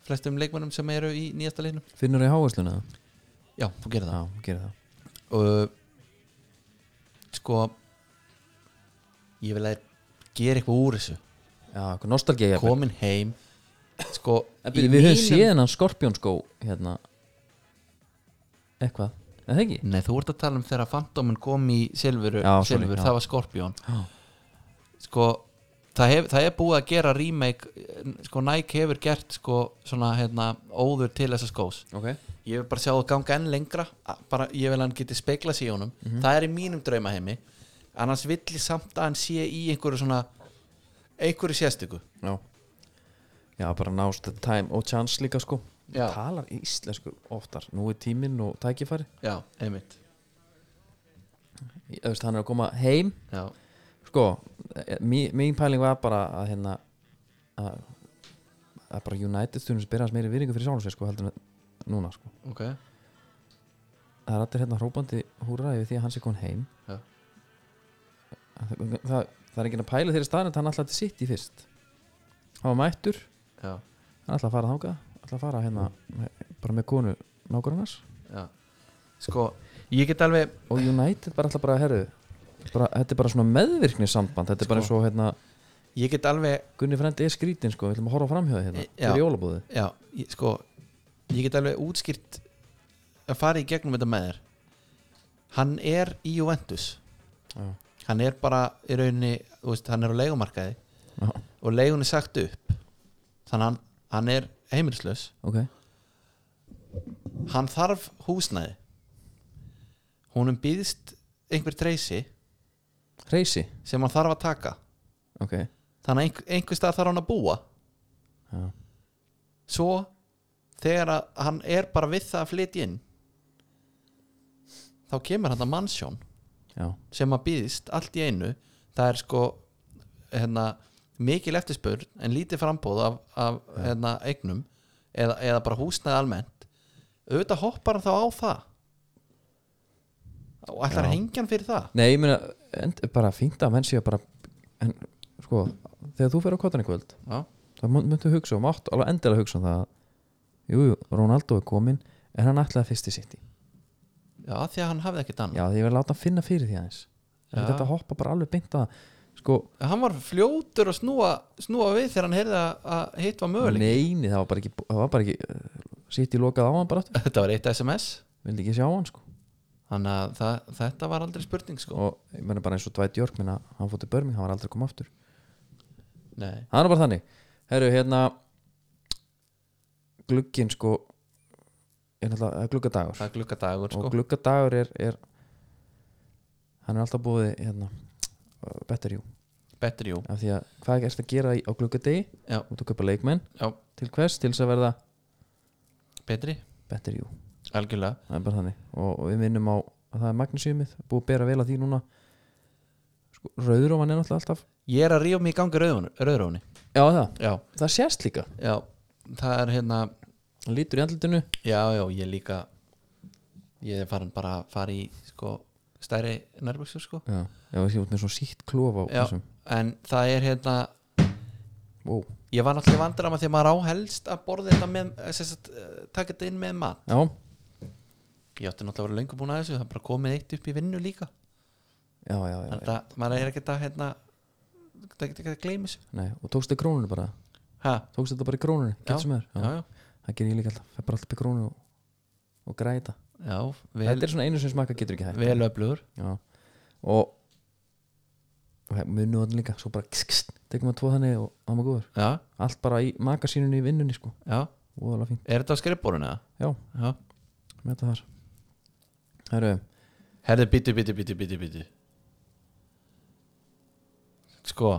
Speaker 2: flestum leikmennum sem eru í nýjasta leiknum
Speaker 1: Finnur þau háhersluna?
Speaker 2: Já, þú gerir
Speaker 1: Já,
Speaker 2: það
Speaker 1: gera það
Speaker 2: og sko ég vil að þeir gera eitthvað úr þessu
Speaker 1: Já, eitthvað nostalgið
Speaker 2: komin heim sko,
Speaker 1: En
Speaker 2: í
Speaker 1: byrju, Við höfum
Speaker 2: mínum-
Speaker 1: séð hennan skorpjónskó hérna eitthvað, eða ekki?
Speaker 2: Nei, þú ert að tala um þegar Fantomin kom í Silfur,
Speaker 1: Já, sorry,
Speaker 2: Silfur
Speaker 1: já.
Speaker 2: það var Skorpjón
Speaker 1: Já.
Speaker 2: Sko, það, hef, það er búið að gera remake eh, sko, Nike hefur gert sko, svona, hérna, óður til þessa skós
Speaker 1: Ok
Speaker 2: Ég vil bara sjá það ganga enn lengra a- bara, ég vil að hann geti speklað sér í honum
Speaker 1: Mhm.
Speaker 2: Það er í mínum draumaheimi annars vill ég samt að hann sé í einhverju svona einhverju sérstöku
Speaker 1: Já Já, bara nást the time og chance líka sko
Speaker 2: Já.
Speaker 1: Talar í íslensku oftar Nú er tíminn og tækifæri
Speaker 2: Já, einmitt
Speaker 1: Ég- Þú veist, hann er að koma heim
Speaker 2: Já,
Speaker 1: Sko, eh, mín, mín pæling var bara að hérna að, að bara United stundum sem byrja hans meiri virðingu fyrir sjálfum sér sko heldur en núna sko
Speaker 2: ok
Speaker 1: Það er allir hérna hrópandi húra yfir því að hann sé komin heim
Speaker 2: Já.
Speaker 1: það, það, það er enginn að pæla þeirri staðan hann ætlaði til sitt í fyrst hann var mættur,
Speaker 2: Já,
Speaker 1: hann ætlaði að fara þangað ætlaði að fara hérna með- bara með konu nágrannars
Speaker 2: já Sko, ég get alveg
Speaker 1: og United bara ætlaði bara að herru bara, þetta er bara svona meðvirkni samband þetta er bara eins
Speaker 2: Sko-
Speaker 1: og hérna
Speaker 2: ég get alveg
Speaker 1: Gunni Frendi er skrítin sko, við ætlum að horfa framhjóði hérna
Speaker 2: E- já.
Speaker 1: fyrir jólabúði
Speaker 2: Já, ég, sko ég get alveg útskýrt að fara í gegnum þetta með þér hann er í Juventus
Speaker 1: Já.
Speaker 2: hann er bara í rauninni, þú veist, hann er á leigumarkaði
Speaker 1: Já.
Speaker 2: og leigun er sagt upp þannig að hann, hann er heimilislaus
Speaker 1: ok,
Speaker 2: hann þarf húsnæði honum býðst einhver treysi
Speaker 1: reysi
Speaker 2: sem hann þarf að taka
Speaker 1: ok,
Speaker 2: þannig að einhver, einhver stað þarf hann að búa
Speaker 1: já,
Speaker 2: svo þegar að hann er bara við það að flytja inn þá kemur hann að mansjón
Speaker 1: já.
Speaker 2: sem að býðist allt í einu það er sko hérna, mikil eftirspurn en lítið frambóð af, af hérna, eignum eða, eða bara húsnæði almennt auðvitað hoppar hann þá á það og ætlar
Speaker 1: Já.
Speaker 2: að hengja hann fyrir það
Speaker 1: nei, ég meina, end, bara fínt að menn séu bara en, sko, þegar þú fyrir á kottan í kvöld
Speaker 2: já,
Speaker 1: það mun- muntu hugsa um átt alveg endilega hugsa um það að, jú, jú, Ronaldo er komin en hann ætlaði fyrst í City
Speaker 2: já því að hann hafði ekkert annað
Speaker 1: já, því ég verði að láta hann finna fyrir því aðeins
Speaker 2: Já.
Speaker 1: þetta að hoppa bara alveg beint að sko,
Speaker 2: hann var fljótur að snúa, snúa við þegar hann heyrði að- að hitt var möguleik
Speaker 1: neini, það var bara ekki, það var bara ekki uh, City lokað á hann bara aftur
Speaker 2: þetta var eitt sms
Speaker 1: vildi ekki sjá hann sko
Speaker 2: þannig að það, þetta var aldrei spurning sko
Speaker 1: og ég menna bara eins og Dwight York minna, hann fótti Birmingham, hann var aldrei að koma aftur
Speaker 2: Nei.
Speaker 1: það er bara þannig, herru, hérna glugginn sko er náttúrulega það er gluggadagur
Speaker 2: það er glukkadagur sko
Speaker 1: og gluggadagur er, er hann er alltaf búið hérna, uh, better you
Speaker 2: betur jú
Speaker 1: af því að hvað erst að gera í- á gluggadegi
Speaker 2: já,
Speaker 1: út að köpa leikmenn
Speaker 2: já,
Speaker 1: til hvers til þess að verða
Speaker 2: betri,
Speaker 1: better you
Speaker 2: algjörlega
Speaker 1: það er bara þannig og, og við vinnum á að það er magnesiumið búið að bera vel að því núna sko, rauðrófan er náttúrulega alltaf
Speaker 2: ég er að rífa mig í gangi rauðróni
Speaker 1: já það,
Speaker 2: já,
Speaker 1: það sést líka
Speaker 2: já, það er hérna
Speaker 1: hann lítur í andlutinu
Speaker 2: já, já, ég líka ég er farin bara að fara í sko stærri nærbuksur sko
Speaker 1: já, já, ég sé út með svo sítt klof á
Speaker 2: já,
Speaker 1: þessum
Speaker 2: en það er hérna
Speaker 1: wow.
Speaker 2: ég var náttúrulega vandrar að því að maður á helst að borða þetta með eh, sem sagt, eh, taka þetta inn með mat
Speaker 1: já,
Speaker 2: ég átti náttúrulega að vera löngu búin að þessu það er bara komið eitt upp í vinnu líka
Speaker 1: já, já, já,
Speaker 2: þannig að maður er ekkert að hérna, það er ekki að gleyma þessu
Speaker 1: Nei, og tókstu krónunni bara
Speaker 2: ha,
Speaker 1: tókstu þetta bara í krónunni,
Speaker 2: já,
Speaker 1: getur sem er
Speaker 2: já, já,
Speaker 1: það gerir ég líka alltaf, fer bara alltaf upp í krónu og, og græta
Speaker 2: já
Speaker 1: þetta
Speaker 2: vel,
Speaker 1: er svona einu sem smaka getur ekki hægt
Speaker 2: vel öflugur
Speaker 1: já. og og hef- munu hann líka, svo bara kss, kss, tekum að tvo þannig og hann var góður
Speaker 2: já,
Speaker 1: allt bara í makasínunni í vinnunni sko
Speaker 2: já,
Speaker 1: og alveg fínt,
Speaker 2: er þetta á skrifborun eða?
Speaker 1: já,
Speaker 2: já,
Speaker 1: með þetta þar Herru,
Speaker 2: herði bítu, bítu, bítu, bítu, bítu sko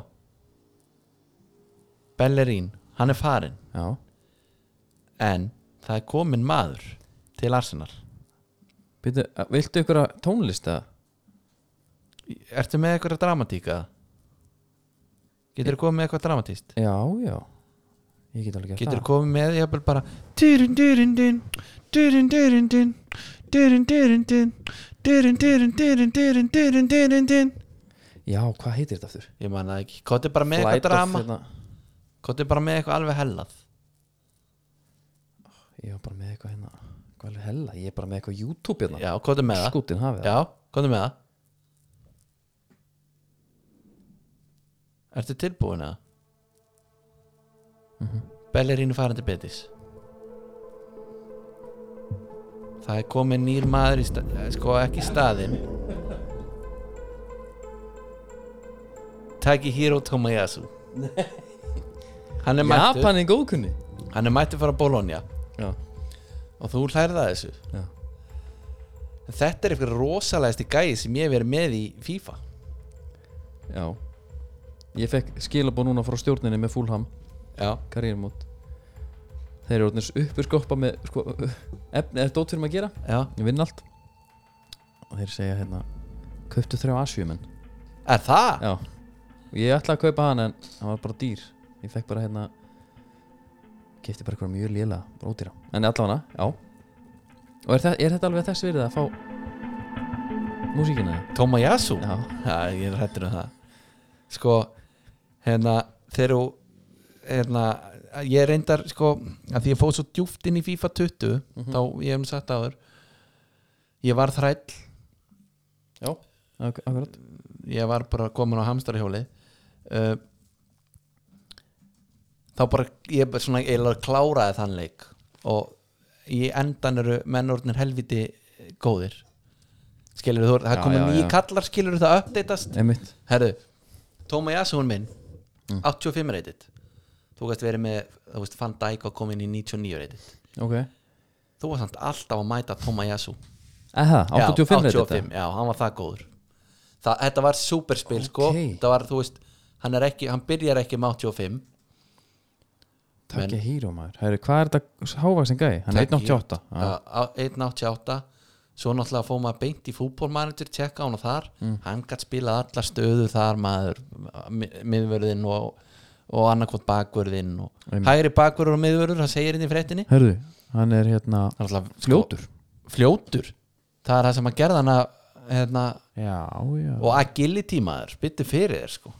Speaker 2: Bellerín, hann er farinn
Speaker 1: já,
Speaker 2: en það er komin maður til Arsenal
Speaker 1: Býtu, að- viltu ykkur að tónlist eða?
Speaker 2: Ertu með eitthvað dramatíka? Getur þú komið með eitthvað dramatíst?
Speaker 1: Já, já Ég get alveg gert
Speaker 2: Getur þú
Speaker 1: það
Speaker 2: komið með jafnvel bara Dyrun dyrun dyn Dyrun dyrun dyn Dyrun dyrun dyn Dyrun dyrun dyrun dyrun dyrun dyrun dyn
Speaker 1: Já, hvað heitir þetta aftur?
Speaker 2: Ég man það ekki Kottu bara með
Speaker 1: Flight
Speaker 2: eitthvað
Speaker 1: of
Speaker 2: drama
Speaker 1: hérna-
Speaker 2: Kottu bara með eitthvað alveg hellað
Speaker 1: Ég var bara með eitthvað hérna Hvað er hella? Ég er bara með eitthvað YouTube hérna
Speaker 2: Já, kottu með það
Speaker 1: Skútin hafið það
Speaker 2: Já, kottu með það Ertu tilbúin að? Bellerínu farandi betis Það er komið nýr maður í stað, sko ekki í staðinn Takihiro Tomoyasu Hann er mættur
Speaker 1: Japan er góðkunni
Speaker 2: Hann er mættur frá Bologna
Speaker 1: Já,
Speaker 2: og þú hlærða þessu
Speaker 1: já,
Speaker 2: Þetta er eitthvað rosalegasti gæði sem ég hef verið með í FIFA
Speaker 1: já. Ég fekk skilabóð núna frá stjórninni með Fulham
Speaker 2: Já,
Speaker 1: karriérmót Þeir eru orðinir uppur skoppa með sko, efni eftir dótt fyrir maður að gera
Speaker 2: já
Speaker 1: Ég vinn allt Og þeir segja hérna Kauptu þrjá Asjumenn
Speaker 2: Er það?
Speaker 1: Já Og Ég ætlaði að kaupa hann en hann var bara dýr Ég fekk bara hérna Kefti bara eitthvað mjög lélega Bara ódýra En allavega já Og er, það, er þetta alveg þess verið að fá Músíkina
Speaker 2: Tomoyasu?
Speaker 1: Já.
Speaker 2: Já, ég er hættur um það Sko, hérna þegar þú hérna, ég reyndar, sko að því ég fóð svo djúft inn í FIFA 20 þá ég hef nú sagt áður ég var þræll,
Speaker 1: Já Ak Akkurat
Speaker 2: ég var bara komin á hamstarhjóli uh, þá bara ég bara svona, ég alveg kláraði þann leik og í endan eru mennordnir helviti góðir skilur þú, það
Speaker 1: Já,
Speaker 2: komið
Speaker 1: já,
Speaker 2: nýja
Speaker 1: já.
Speaker 2: kallar skilur það uppdeitast
Speaker 1: Einmitt
Speaker 2: Herru, Tóma Jasson minn
Speaker 1: Mm.
Speaker 2: 85 reytit Þú gæst verið með, þú veist, Van Dijk og komin í 99 reytit
Speaker 1: Ok
Speaker 2: Þú var samt alltaf að mæta Tóma Jasson
Speaker 1: Eða, 85
Speaker 2: já,
Speaker 1: reyndi
Speaker 2: 85, já, hann var það góður Þa, Þetta var superspil, sko
Speaker 1: Ókei.
Speaker 2: Það var, þú veist, hann, er ekki, hann byrjar ekki með 85
Speaker 1: Takk ég hýró maður Hæru, hvað er þetta hávaksin gæi? Hann er 188 Já.
Speaker 2: Já, á- 1.88 Svo náttúrulega fóðum maður beint í fútbolmanager tjekka hann og þar,
Speaker 1: Mm.
Speaker 2: hann gætt spilað allar stöðu þar maður mi- miðvörðinn og, og annarkvot bakvörðinn og hægri bakvörður og miðvörður, hann segir inn í fréttinni
Speaker 1: Herðu, hann er hérna
Speaker 2: Hann náttúrulega, sko,
Speaker 1: Fljótur
Speaker 2: fljótur, það er það sem að gerða hann að hérna,
Speaker 1: Já, já
Speaker 2: og agility maður, byttu fyrir þér sko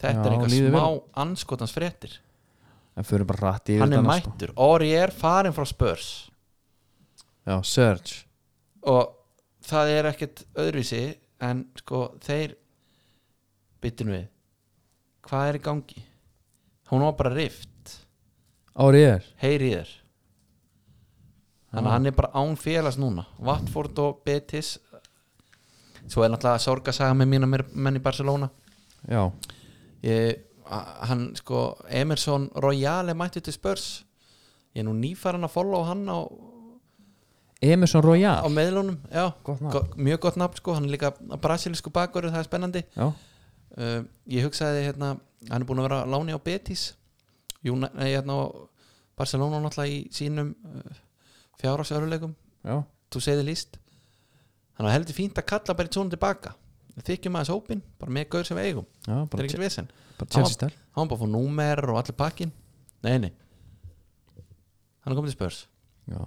Speaker 2: þetta
Speaker 1: Já,
Speaker 2: er
Speaker 1: líður vel.
Speaker 2: eitthvað smá anskotans fréttir
Speaker 1: En fyrir bara rætt í
Speaker 2: hann er mættur, Ori er farin frá spörs
Speaker 1: Já, Serge
Speaker 2: og það er ekkert öðruvísi en sko þeir byttin við hvað er í gangi hún var bara rift,
Speaker 1: Ári er
Speaker 2: heyri í þér þannig að hann er bara án félags núna Watford og Betis svo er náttúrulega sorgasaga með mína mér- menn í Barcelona
Speaker 1: Já,
Speaker 2: ég, a- hann sko Emerson Royale mætti til spörs ég er nú nýfæran að follow hann á,
Speaker 1: Emerson
Speaker 2: á
Speaker 1: Royale
Speaker 2: meðlunum já,
Speaker 1: Gott nafn.
Speaker 2: go- mjög gott nafn sko, hann er líka brasilisku bakverður, það er spennandi
Speaker 1: Já,
Speaker 2: uh, ég hugsaði hérna hann er búin að vera á láni á Betis Júna, nei, hérna á Barcelona náttúrulega í sínum uh, fjárásöruleikum,
Speaker 1: já,
Speaker 2: þú segði líst hann var heldur fínt að kalla bara í tónu tilbaka þykjum aðeins hópin, bara með gaur sem við eigum
Speaker 1: já
Speaker 2: það
Speaker 1: bara,
Speaker 2: er ekkert vesen
Speaker 1: bara Chelsea stær
Speaker 2: hann var bara fór númer og allir pakkin nei, nei hann er komið til spörs
Speaker 1: Já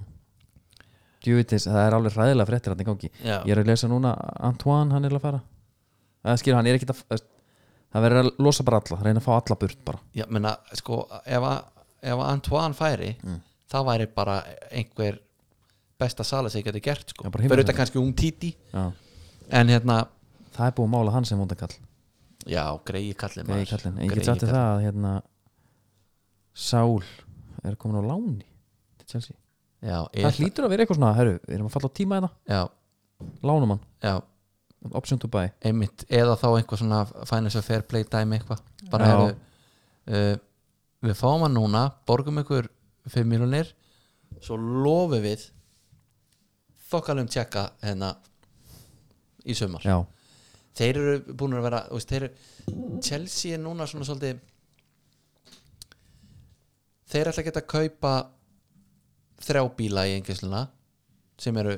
Speaker 1: Djúvitis, það er alveg hræðilega fréttir hann í gangi
Speaker 2: Já.
Speaker 1: Ég er að lesa núna Antoine, hann er að fara Það skilur, hann er ekkit að það það verður að losa bara alla, reyna að fá alla burt bara
Speaker 2: Já, menna, sko, ef, að- ef að Antoine færi
Speaker 1: Mm.
Speaker 2: það væri bara einhver besta sala sem ég geti gert sko.
Speaker 1: Já, bara
Speaker 2: fyrir
Speaker 1: himnaríki.
Speaker 2: þetta kannski um títi
Speaker 1: já.
Speaker 2: en hérna,
Speaker 1: það er búið að mála hann sem vondakall
Speaker 2: já, greiði kallin
Speaker 1: Nei, kallinn, en ég get sagt þér það að hérna Sál er komin á láni til Chelsea
Speaker 2: já,
Speaker 1: Það
Speaker 2: ég,
Speaker 1: hlýtur að vera eitthvað svona, herru, við erum að falla á tíma þetta
Speaker 2: já,
Speaker 1: Lánum hann,
Speaker 2: já,
Speaker 1: option to buy
Speaker 2: einmitt eða þá einhver svona financial fair play dæmi eitthvað bara
Speaker 1: Já.
Speaker 2: hefðu uh, við fáum hann núna, borgum ykkur 5 miljonir svo lofum við þokkalum tjekka hérna í sumar
Speaker 1: Já,
Speaker 2: þeir eru búin að vera þú veist, þeir, eru- Chelsea er núna svona svolítið þeir ætla að geta að kaupa þrjá bíla í engisluna sem eru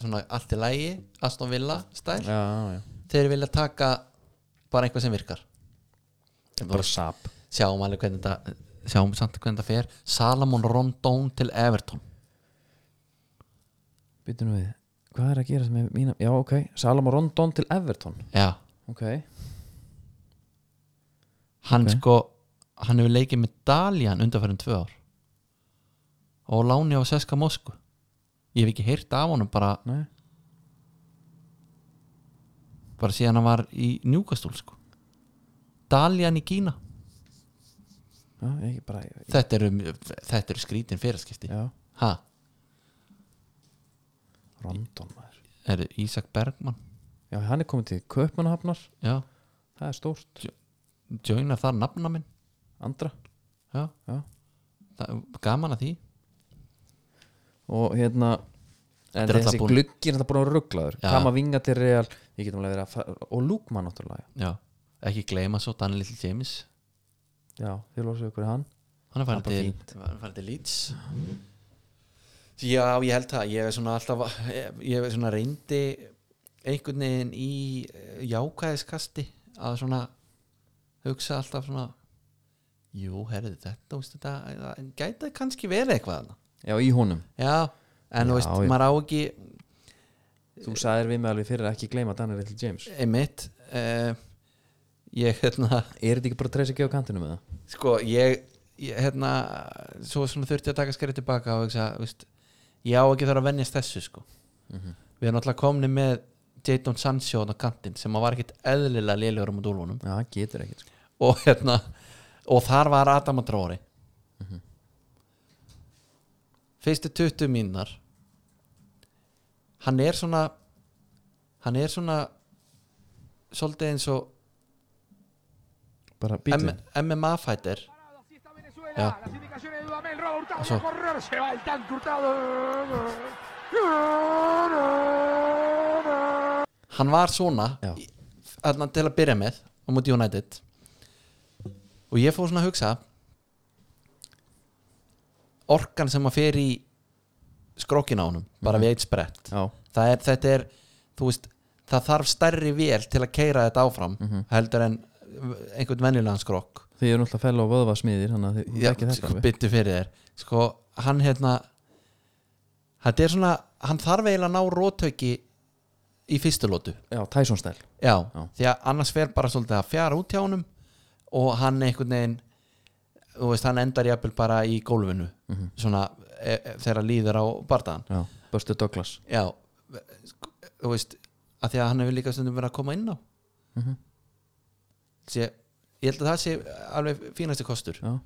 Speaker 2: svona allt í lægi, Aston Villa stæl,
Speaker 1: já, já
Speaker 2: þeir vilja taka bara eitthvað sem virkar
Speaker 1: Bara sap
Speaker 2: sjáum alveg hvernig þetta sjáum samt hvernig þetta fer Salamon Rondón til Everton
Speaker 1: Býtum við, hvað er að gera sem er mína Já, ok, Salomon Rondon til Everton
Speaker 2: já,
Speaker 1: Ok,
Speaker 2: hann
Speaker 1: Ok.
Speaker 2: sko hann hefur leikið með Dalian undanferðin tvö ár og á láni á Seska Moskvu ég hef ekki heyrt af honum bara,
Speaker 1: nei
Speaker 2: bara síðan hann var í Njúkastúl sko Dalian í Kína
Speaker 1: Já, ég ekki bara ég,
Speaker 2: þetta eru, þetta eru skrítin fyrirskipti
Speaker 1: Já,
Speaker 2: ha,
Speaker 1: Rondon maður
Speaker 2: er Ísak Bergman
Speaker 1: Já, hann er komin til Kaupmannahafnar
Speaker 2: já,
Speaker 1: Það er stórt
Speaker 2: joinar þar nafna minn
Speaker 1: Andra
Speaker 2: já,
Speaker 1: Já.
Speaker 2: Það, gaman að því
Speaker 1: og hérna en
Speaker 2: Þetta er
Speaker 1: þessi
Speaker 2: alltaf búin-
Speaker 1: gluggi er þetta búin að rugglaður
Speaker 2: Já.
Speaker 1: kama vinga til Real ég getum alveg verið að fara og Lúkmann náttúrulega já.
Speaker 2: já, ekki gleyma svo Daniel Little James
Speaker 1: já, þið losum ykkur við hann
Speaker 2: hann er
Speaker 1: Það er
Speaker 2: farið
Speaker 1: bara
Speaker 2: til, hann er farið til Leeds já ég held það ég er svona alltaf ég ég er svona reyndi einhvern veginn í eh, jákvæðiskasti að svona hugsa alltaf svona jú herðu þetta, þú veist, þetta það gæti kannski verið eitthvað þarna.
Speaker 1: já, í honum
Speaker 2: já, en þú
Speaker 1: Já,
Speaker 2: veist,
Speaker 1: já.
Speaker 2: maður á ekki
Speaker 1: þú sagðir við mig alveg fyrir að ekki gleyma Daniel Little James
Speaker 2: einmitt uh, ég hérna
Speaker 1: er þetta ekki bara að treysa ekki á kantinu með það?
Speaker 2: sko ég, ég hérna, svo svona þurfti að taka skerið tilbaka og hugsa, veist, ég á ekki þarf að venjast þessu sko við erum alltaf komni með Jadon Sancho á kantinn sem að var ekkit eðlilega lélegur um úlfunum
Speaker 1: já, það getur ekkert sko.
Speaker 2: og hérna og þar var Adam að dróri fyrstu 20 mínar hann er svona hann er svona svolítið eins og
Speaker 1: bara bílinn
Speaker 2: MMA fighter
Speaker 4: Parados, y está Venezuela.
Speaker 2: Ya.
Speaker 4: Las indicaciones de Dudamel. Roba Hurtado
Speaker 2: Pasó.
Speaker 4: va a correr. Se va el tanque Hurtado.
Speaker 2: hann var svona
Speaker 1: Já.
Speaker 2: í- þarna til að byrja með á móti United og ég fór svona að hugsa orkan sem að fer í skrokkin á honum bara við eitt sprett
Speaker 1: Mhm. já,
Speaker 2: það er, þetta er, þú veist það þarf stærri vél til að keira þetta áfram
Speaker 1: Mhm.
Speaker 2: heldur en einhvern venjulegan skrokk
Speaker 1: þið eru náttúrulega fell og vöðva smiðir þannig að þið
Speaker 2: Já,
Speaker 1: er ekki þetta
Speaker 2: sko,
Speaker 1: alveg
Speaker 2: byttu fyrir þér sko, hann hérna þetta er svona, hann þarf eiginlega að ná rótöki í fyrstu lótu
Speaker 1: já, Tyson stæl
Speaker 2: já,
Speaker 1: Já.
Speaker 2: því að annars fer bara svolítið að fjara út hjá honum og hann einhvern veginn þú veist, hann endar jafnvel bara í gólfinu
Speaker 1: Mhm.
Speaker 2: svona e, e, þegar líður á bardaðan
Speaker 1: já, Buster Douglas
Speaker 2: já, sko, þú veist að því að hann hefur líka stundum verið að koma inn á sé, ég held að það sé alveg fínasti kostur
Speaker 1: já,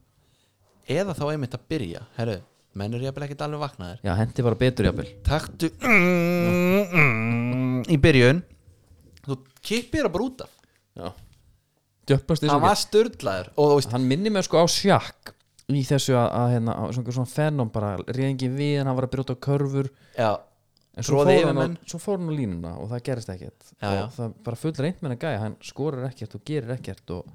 Speaker 2: eða þá einmitt að byrja, herru menn eru jafnvel ekkert alveg vaknaðir
Speaker 1: já hendi bara betur jafnvel
Speaker 2: taktu í byrjun þú kippir það bara út af
Speaker 1: já djöppast þess
Speaker 2: hann var störðlaður og þú veist,
Speaker 1: hann minni mig sko á sjakk í þessu að, að hérna, á svona, svona fennum bara reyðingin við en hann var að brjóta á körfur
Speaker 2: já,
Speaker 1: en svo
Speaker 2: Tróði
Speaker 1: fór,
Speaker 2: yfir
Speaker 1: hann á,
Speaker 2: menn.
Speaker 1: svo fór hann á línuna og það gerist ekkert
Speaker 2: Já,
Speaker 1: og
Speaker 2: já.
Speaker 1: það bara full reynd með hann gæja hann skorar ekkert og gerir ekkert og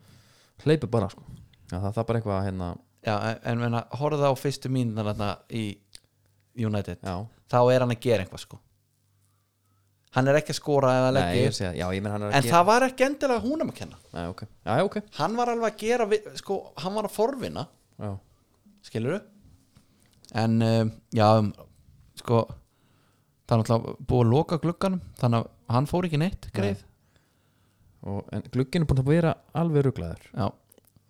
Speaker 1: hleypur bara sko já, það, það er bara eitthvað að hérna
Speaker 2: já, en- en menna, horfða á fyrstu mínunar þarna í United
Speaker 1: já,
Speaker 2: þá er hann að gera eitthvað sko hann er ekki að skora eða
Speaker 1: nei,
Speaker 2: leggja
Speaker 1: ég sé, já, ég menn hann er
Speaker 2: en
Speaker 1: að
Speaker 2: það var ekki endilega húnum að kenna
Speaker 1: nei, ok, já, ok
Speaker 2: hann var alveg að gera við, sko, hann var að forvinna
Speaker 1: já,
Speaker 2: skilur en um, já um, sko það er náttúrulega búið að loka glugganum þannig að hann fór ekki neitt greið
Speaker 1: og, en glugginn er búin að vera alveg ruglaður
Speaker 2: já,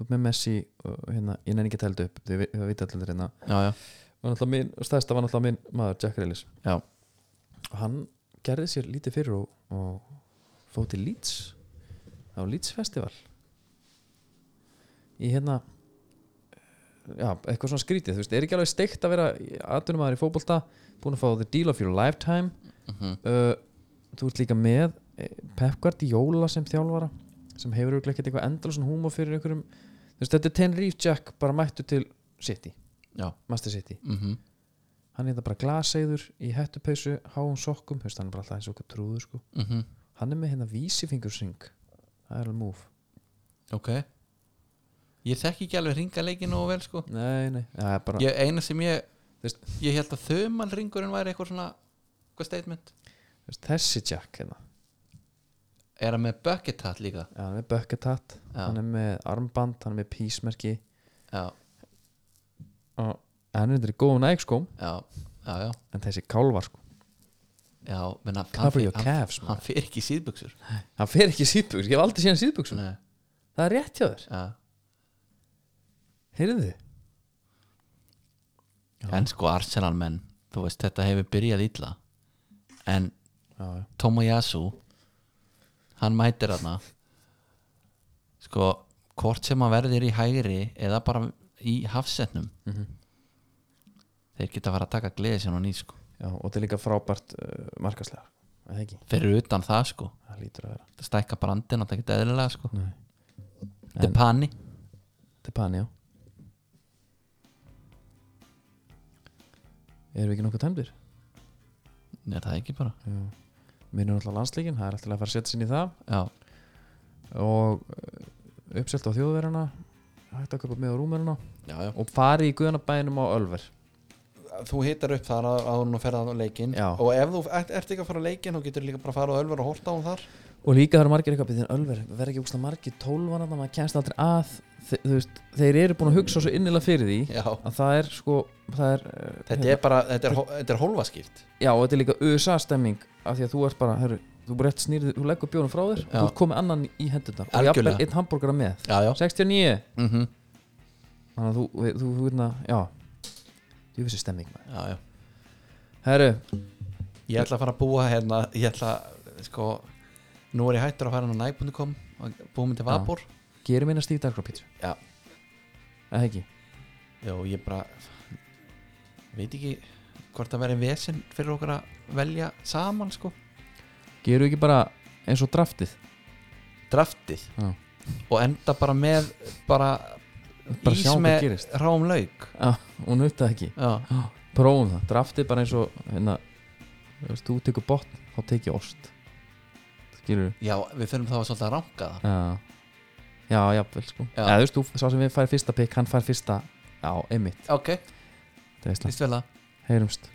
Speaker 1: upp með Messi og hérna, ég nefn ekki að teldu upp því við við vita allir hérna
Speaker 2: já, já,
Speaker 1: var náttúrulega minn, stærsta var náttúrulega minn maður Jack Reilis
Speaker 2: já.
Speaker 1: og hann gerði sér lítið fyrir og, og fóð til Leeds á Leeds Festival í hérna já, eitthvað svona skrítið þú veist, er ekki alveg steikt að vera atvinnumæður í fótbolta, búin að fá the deal of your lifetime uh, þú ert líka með eh, Pep Guardiola sem þjálfara sem hefur örugglega ekkert eitthvað endalsan húmor fyrir einhverjum þú veist, þetta er Tenerife Jack bara mættu til City,
Speaker 2: Já.
Speaker 1: Master City
Speaker 2: Mm
Speaker 1: hann er þetta bara glaseiður í hettupeysu háum sokkum, þú veist, hann er bara alltaf eins og okkur trúður sko.
Speaker 2: mhm,
Speaker 1: hann er með hérna vísifingursyng það er alveg múf
Speaker 2: ok ég þekki ekki alveg ringa leikin og vel sko
Speaker 1: nei, nei, það er bara
Speaker 2: ég, eina sem ég
Speaker 1: Þú veist-
Speaker 2: ég held að þumal ringurinn væri eitthvað svona eitthvað statement
Speaker 1: þú veist, þessi Jack hérna
Speaker 2: er hann með bucket hat líka
Speaker 1: Já, hann er með bucket hat,
Speaker 2: Já.
Speaker 1: hann er með armband hann er með písmerki
Speaker 2: já,
Speaker 1: og hann er þetta í góðun ægskóm
Speaker 2: já, já, já,
Speaker 1: sko, en þessi kálvar sko,
Speaker 2: já menna, hann,
Speaker 1: cover
Speaker 2: fer-
Speaker 1: your
Speaker 2: hann,
Speaker 1: calves hann,
Speaker 2: hann fyrir ekki í síðbuxur
Speaker 1: hann fer ekki í síðbuxum, ég hef aldrei séð hann síðbuxum
Speaker 2: Nei,
Speaker 1: það er rétt hjá þér,
Speaker 2: já.
Speaker 1: heyrðu þið
Speaker 2: en sko Arsenal menn þú veist þetta hefur byrjað illa en
Speaker 1: já, já.
Speaker 2: Tomoyasu hann mætir hana sko hvort sem hann verðir í hægri eða bara í hafsetnum þeir geta að fara að taka gleði sem hann í sko
Speaker 1: Já, og þetta er líka frábært uh, markaslega, það ekki,
Speaker 2: fyrir utan það sko,
Speaker 1: það lítur að vera
Speaker 2: það stækka brandin og það geta eðlilega sko
Speaker 1: Nei.
Speaker 2: þetta er panni
Speaker 1: Depani, já Erum við ekki nokkuð tæmdir?
Speaker 2: er það ekki bara
Speaker 1: Mér er náttúrulega landslíkin, það er alltaf að fara að setja sinni í það
Speaker 2: já,
Speaker 1: og eh, uppselt á þjóðverjana hægt að köpa með á rúmeruna
Speaker 2: já, já.
Speaker 1: og fari í guðanabæðinum á Ölver
Speaker 2: þú hittar upp þar áður og ferða á leikin
Speaker 1: Já.
Speaker 2: og ef þú ert, ert ekki að fara á leikin þá getur líka bara að fara á ölver og horta á hún þar
Speaker 1: og líka það eru margir eitthvað býðin Ölver verð ekki úkslega margir tólvan að maður kemst aldrei að Þe, þú veist, þeir eru búin að hugsa svo innilega fyrir því
Speaker 2: já.
Speaker 1: að það er sko það er, eh,
Speaker 2: þetta er bara, þetta er, hó- þetta er hólfaskipt
Speaker 1: Já, og þetta er líka USA stemming af því að þú ert bara, herru, þú rétt snýrið þú leggur bjónum frá þér og
Speaker 2: Já.
Speaker 1: þú ert komið annan í hendunar og
Speaker 2: Algjörlega.
Speaker 1: jafnvel einn hambúrgara með
Speaker 2: já, já,
Speaker 1: 69
Speaker 2: mm
Speaker 1: þannig að þú, þú, þú, þú veitna, já þú vissi stemming maður
Speaker 2: já, já.
Speaker 1: Herru,
Speaker 2: Ég ætla að fara að búa hérna Ég ætla að, sko Nú er ég hættur að fara hann á næg.com og búa mig til Vapor
Speaker 1: gerum eina stíf daggrafpítsu
Speaker 2: Já,
Speaker 1: eða ekki,
Speaker 2: já ég bara Veit ekki hvort það verið vesinn fyrir okkur að velja saman, sko
Speaker 1: gerum við ekki bara eins og draftið
Speaker 2: Draftið
Speaker 1: Já.
Speaker 2: Og enda bara með bara,
Speaker 1: Bara
Speaker 2: ís
Speaker 1: sjáum hvað
Speaker 2: með
Speaker 1: gerist.
Speaker 2: ráum lauk
Speaker 1: Já, hún auðvitað ekki
Speaker 2: Já,
Speaker 1: prófum það, draftið bara eins og hérna, þú veist, þú tekur botn þá tek ég ost skilur
Speaker 2: já við þurfum þá að svolítið að ranka það
Speaker 1: Já, já, jafnvel sko
Speaker 2: Já.
Speaker 1: Eða þú veist, þú, sá sem við fær fyrsta pikk, hann fær fyrsta Já, einmitt,
Speaker 2: Ok,
Speaker 1: það er veistlega
Speaker 2: líst vel að
Speaker 1: Heyrumst